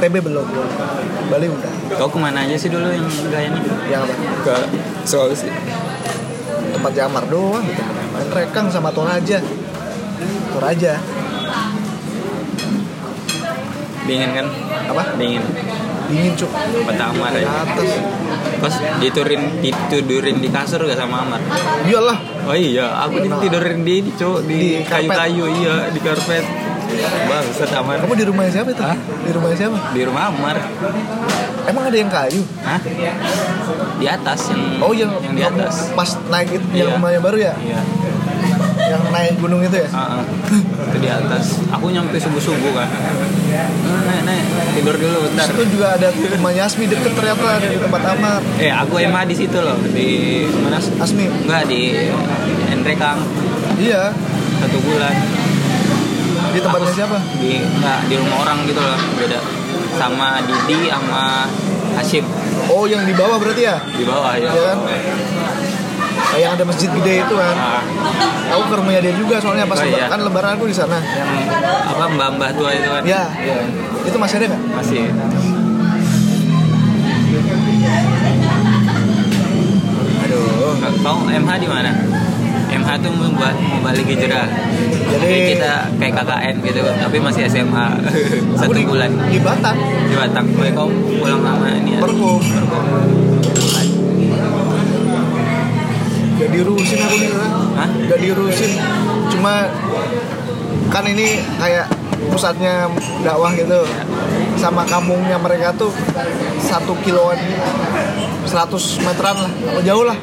[SPEAKER 1] NTB belum Bali udah
[SPEAKER 2] Kau kemana aja sih dulu yang gayanya?
[SPEAKER 1] yang apa
[SPEAKER 2] Ke Sulawesi.
[SPEAKER 1] tempat Jamar doang gitu main rekang sama Toraja Toraja
[SPEAKER 2] Dingin kan?
[SPEAKER 1] apa
[SPEAKER 2] Dingin.
[SPEAKER 1] dingin cuk
[SPEAKER 2] Pertama
[SPEAKER 1] di
[SPEAKER 2] ya.
[SPEAKER 1] atas
[SPEAKER 2] Pas diturin ditidurin di kasur gak sama Amar?
[SPEAKER 1] iyalah
[SPEAKER 2] Oh iya, aku ditidurin di ini, Cuk, di
[SPEAKER 1] Di karpet.
[SPEAKER 2] kayu-kayu, iya, di karpet. Bang, set Amar.
[SPEAKER 1] kamu di rumahnya siapa itu
[SPEAKER 2] Hah?
[SPEAKER 1] di rumahnya siapa
[SPEAKER 2] Di rumah Amar.
[SPEAKER 1] emang ada yang kayu
[SPEAKER 2] Hah? Di atas yang
[SPEAKER 1] oh yang,
[SPEAKER 2] yang
[SPEAKER 1] kamu
[SPEAKER 2] di atas.
[SPEAKER 1] pas naik itu yang
[SPEAKER 2] Iya.
[SPEAKER 1] rumahnya baru ya
[SPEAKER 2] Iya.
[SPEAKER 1] yang naik gunung itu ya
[SPEAKER 2] Ah, ah. Itu di atas. Aku nyampe subuh-subuh kan. Nek, nek, tidur dulu bentar.
[SPEAKER 1] itu juga ada rumahnya Asmi deket ternyata ada di tempat Amar
[SPEAKER 2] Eh, aku emang di situ loh, di mana? sih?
[SPEAKER 1] Asmi
[SPEAKER 2] Enggak di Endrekang
[SPEAKER 1] iya
[SPEAKER 2] satu bulan.
[SPEAKER 1] di tempatnya
[SPEAKER 2] Aku-
[SPEAKER 1] siapa
[SPEAKER 2] Di enggak di rumah orang gitu loh, beda. Sama Didi sama Hashim
[SPEAKER 1] oh yang di bawah berarti ya
[SPEAKER 2] di bawah ya.
[SPEAKER 1] Iya kan? Eh, yang ada masjid gede itu kan
[SPEAKER 2] Ah,
[SPEAKER 1] aku ke rumahnya dia juga soalnya pas
[SPEAKER 2] Oh,
[SPEAKER 1] lebaran
[SPEAKER 2] iya.
[SPEAKER 1] kan lebaran aku di sana
[SPEAKER 2] yang apa mbak-mbak tua itu kan?
[SPEAKER 1] ya itu masih ada nggak
[SPEAKER 2] Masih.
[SPEAKER 1] aduh
[SPEAKER 2] Kau MH di mana? MH tuh membuat mau balik hijrah.
[SPEAKER 1] Jadi-
[SPEAKER 2] Jadi kita kayak KKN gitu, tapi masih SMA
[SPEAKER 1] aku
[SPEAKER 2] satu
[SPEAKER 1] di,
[SPEAKER 2] bulan
[SPEAKER 1] di Batam
[SPEAKER 2] di Batam. Kau kau pulang sama ini ya?
[SPEAKER 1] Perkum.
[SPEAKER 2] Perkum.
[SPEAKER 1] gak diurusin aku di sana
[SPEAKER 2] Hah?
[SPEAKER 1] gak diurusin cuma kan ini kayak pusatnya dakwah gitu sama kampungnya mereka tuh satu kiloan 100 meteran lah apa jauh lah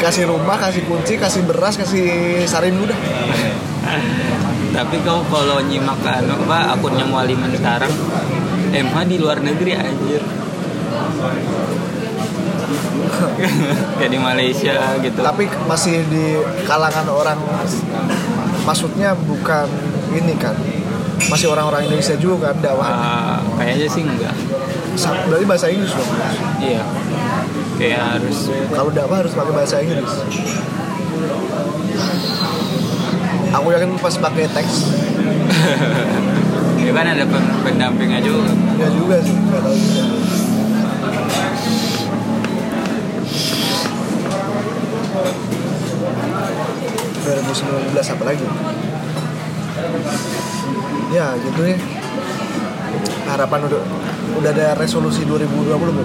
[SPEAKER 1] kasih rumah kasih kunci kasih beras kasih sarin udah
[SPEAKER 2] Tapi kau kalau nyimak anu apa akunnya Mualiman sekarang MH di luar negeri anjir. kayak di Malaysia gitu.
[SPEAKER 1] tapi masih di kalangan orang maksudnya bukan ini kan masih orang-orang Indonesia juga kan dakwah
[SPEAKER 2] Ah, kayaknya sih enggak.
[SPEAKER 1] Sa- berarti bahasa Inggris dong
[SPEAKER 2] Iya. Kayak harus
[SPEAKER 1] kalau dakwah harus pakai bahasa Inggris aku yakin pas pakai teks
[SPEAKER 2] ya kan ada pen- pendampingnya juga.
[SPEAKER 1] ya juga sih nggak tahu juga belas apa lagi ya gitu ya harapan udah udah ada resolusi 2020 belum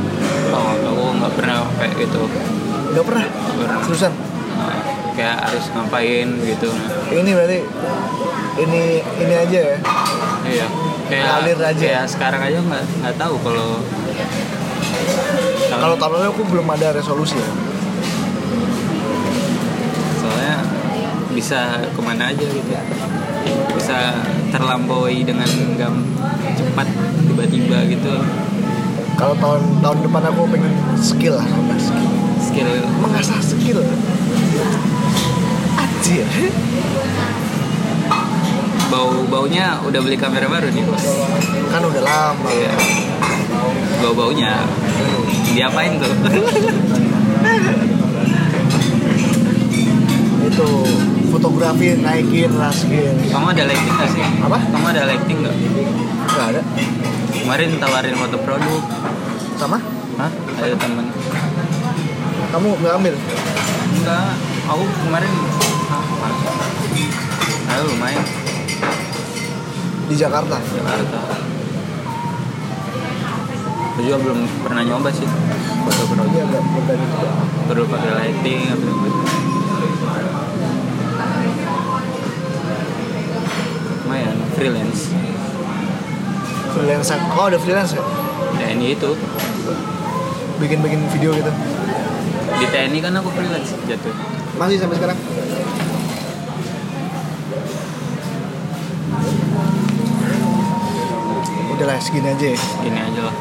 [SPEAKER 2] Oh, aku nggak pernah kayak gitu.
[SPEAKER 1] nggak pernah
[SPEAKER 2] pernah.
[SPEAKER 1] seriusan
[SPEAKER 2] Nah, Kayak harus ngapain gitu.
[SPEAKER 1] ini berarti ini ini aja ya
[SPEAKER 2] Iya. Kayak
[SPEAKER 1] Ngalir aja.
[SPEAKER 2] kayak sekarang aja nggak nggak tahu kalau
[SPEAKER 1] kalau tahun lalu aku belum ada resolusi ya
[SPEAKER 2] soalnya bisa kemana aja gitu bisa terlampaui dengan gam cepat tiba-tiba gitu
[SPEAKER 1] kalau tahun tahun depan aku pengen skill lah nambah skill
[SPEAKER 2] skill
[SPEAKER 1] mengasah skill ya? anjir
[SPEAKER 2] bau baunya udah beli kamera baru nih bos
[SPEAKER 1] kan udah lama
[SPEAKER 2] iya bau baunya diapain tuh
[SPEAKER 1] itu fotografi naikin lah skill
[SPEAKER 2] kamu ada lighting nggak sih
[SPEAKER 1] Apa?
[SPEAKER 2] kamu ada lighting nggak
[SPEAKER 1] nggak ada
[SPEAKER 2] kemarin tawarin foto produk
[SPEAKER 1] sama
[SPEAKER 2] Hah? ada temen
[SPEAKER 1] kamu nggak ambil
[SPEAKER 2] enggak aku kemarin Ayo lumayan
[SPEAKER 1] di Jakarta
[SPEAKER 2] Jakarta. Aku juga belum pernah nyoba sih foto produk
[SPEAKER 1] iya nggak bukan itu
[SPEAKER 2] perlu pakai lighting apa gitu. Lumayan freelance.
[SPEAKER 1] freelance oh ada freelance ya
[SPEAKER 2] TNI itu
[SPEAKER 1] bikin bikin video gitu
[SPEAKER 2] di TNI kan aku freelance jatuh.
[SPEAKER 1] masih sampai sekarang udahlah segini aja ya
[SPEAKER 2] Gini aja lah.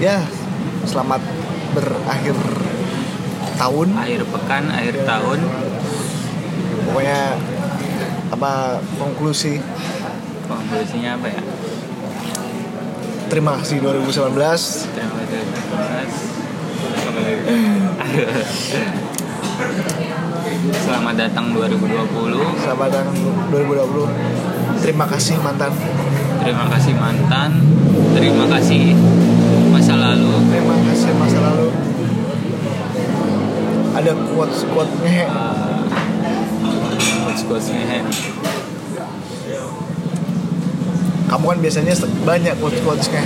[SPEAKER 1] ya selamat berakhir tahun
[SPEAKER 2] Akhir pekan, akhir tahun.
[SPEAKER 1] pokoknya apa konklusi
[SPEAKER 2] Konklusinya apa ya?
[SPEAKER 1] terima kasih 2019
[SPEAKER 2] Terima kasih. Selamat datang 2020.
[SPEAKER 1] selamat datang 2020 terima kasih mantan
[SPEAKER 2] terima kasih mantan terima kasih masa lalu
[SPEAKER 1] Terima kasih masa lalu. Ada quotes quotesnya
[SPEAKER 2] Eh, quotes ya. quotesnya
[SPEAKER 1] Kamu kan biasanya se- banyak quotes quotesnya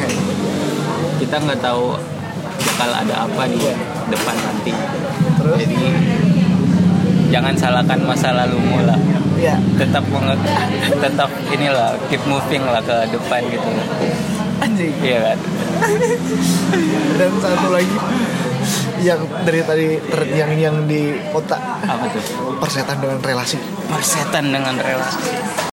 [SPEAKER 2] kita nggak tahu bakal ada apa di depan nanti
[SPEAKER 1] Terus?
[SPEAKER 2] jadi jangan salahkan masa lalumu lah
[SPEAKER 1] Ya,
[SPEAKER 2] tetap menge- tetap inilah keep moving lah ke depan gitu
[SPEAKER 1] anjing.
[SPEAKER 2] iya kan
[SPEAKER 1] Dan satu lagi yang dari tadi ter- yang yang di otak
[SPEAKER 2] apa tuh
[SPEAKER 1] persetan dengan relasi.
[SPEAKER 2] persetan dengan relasi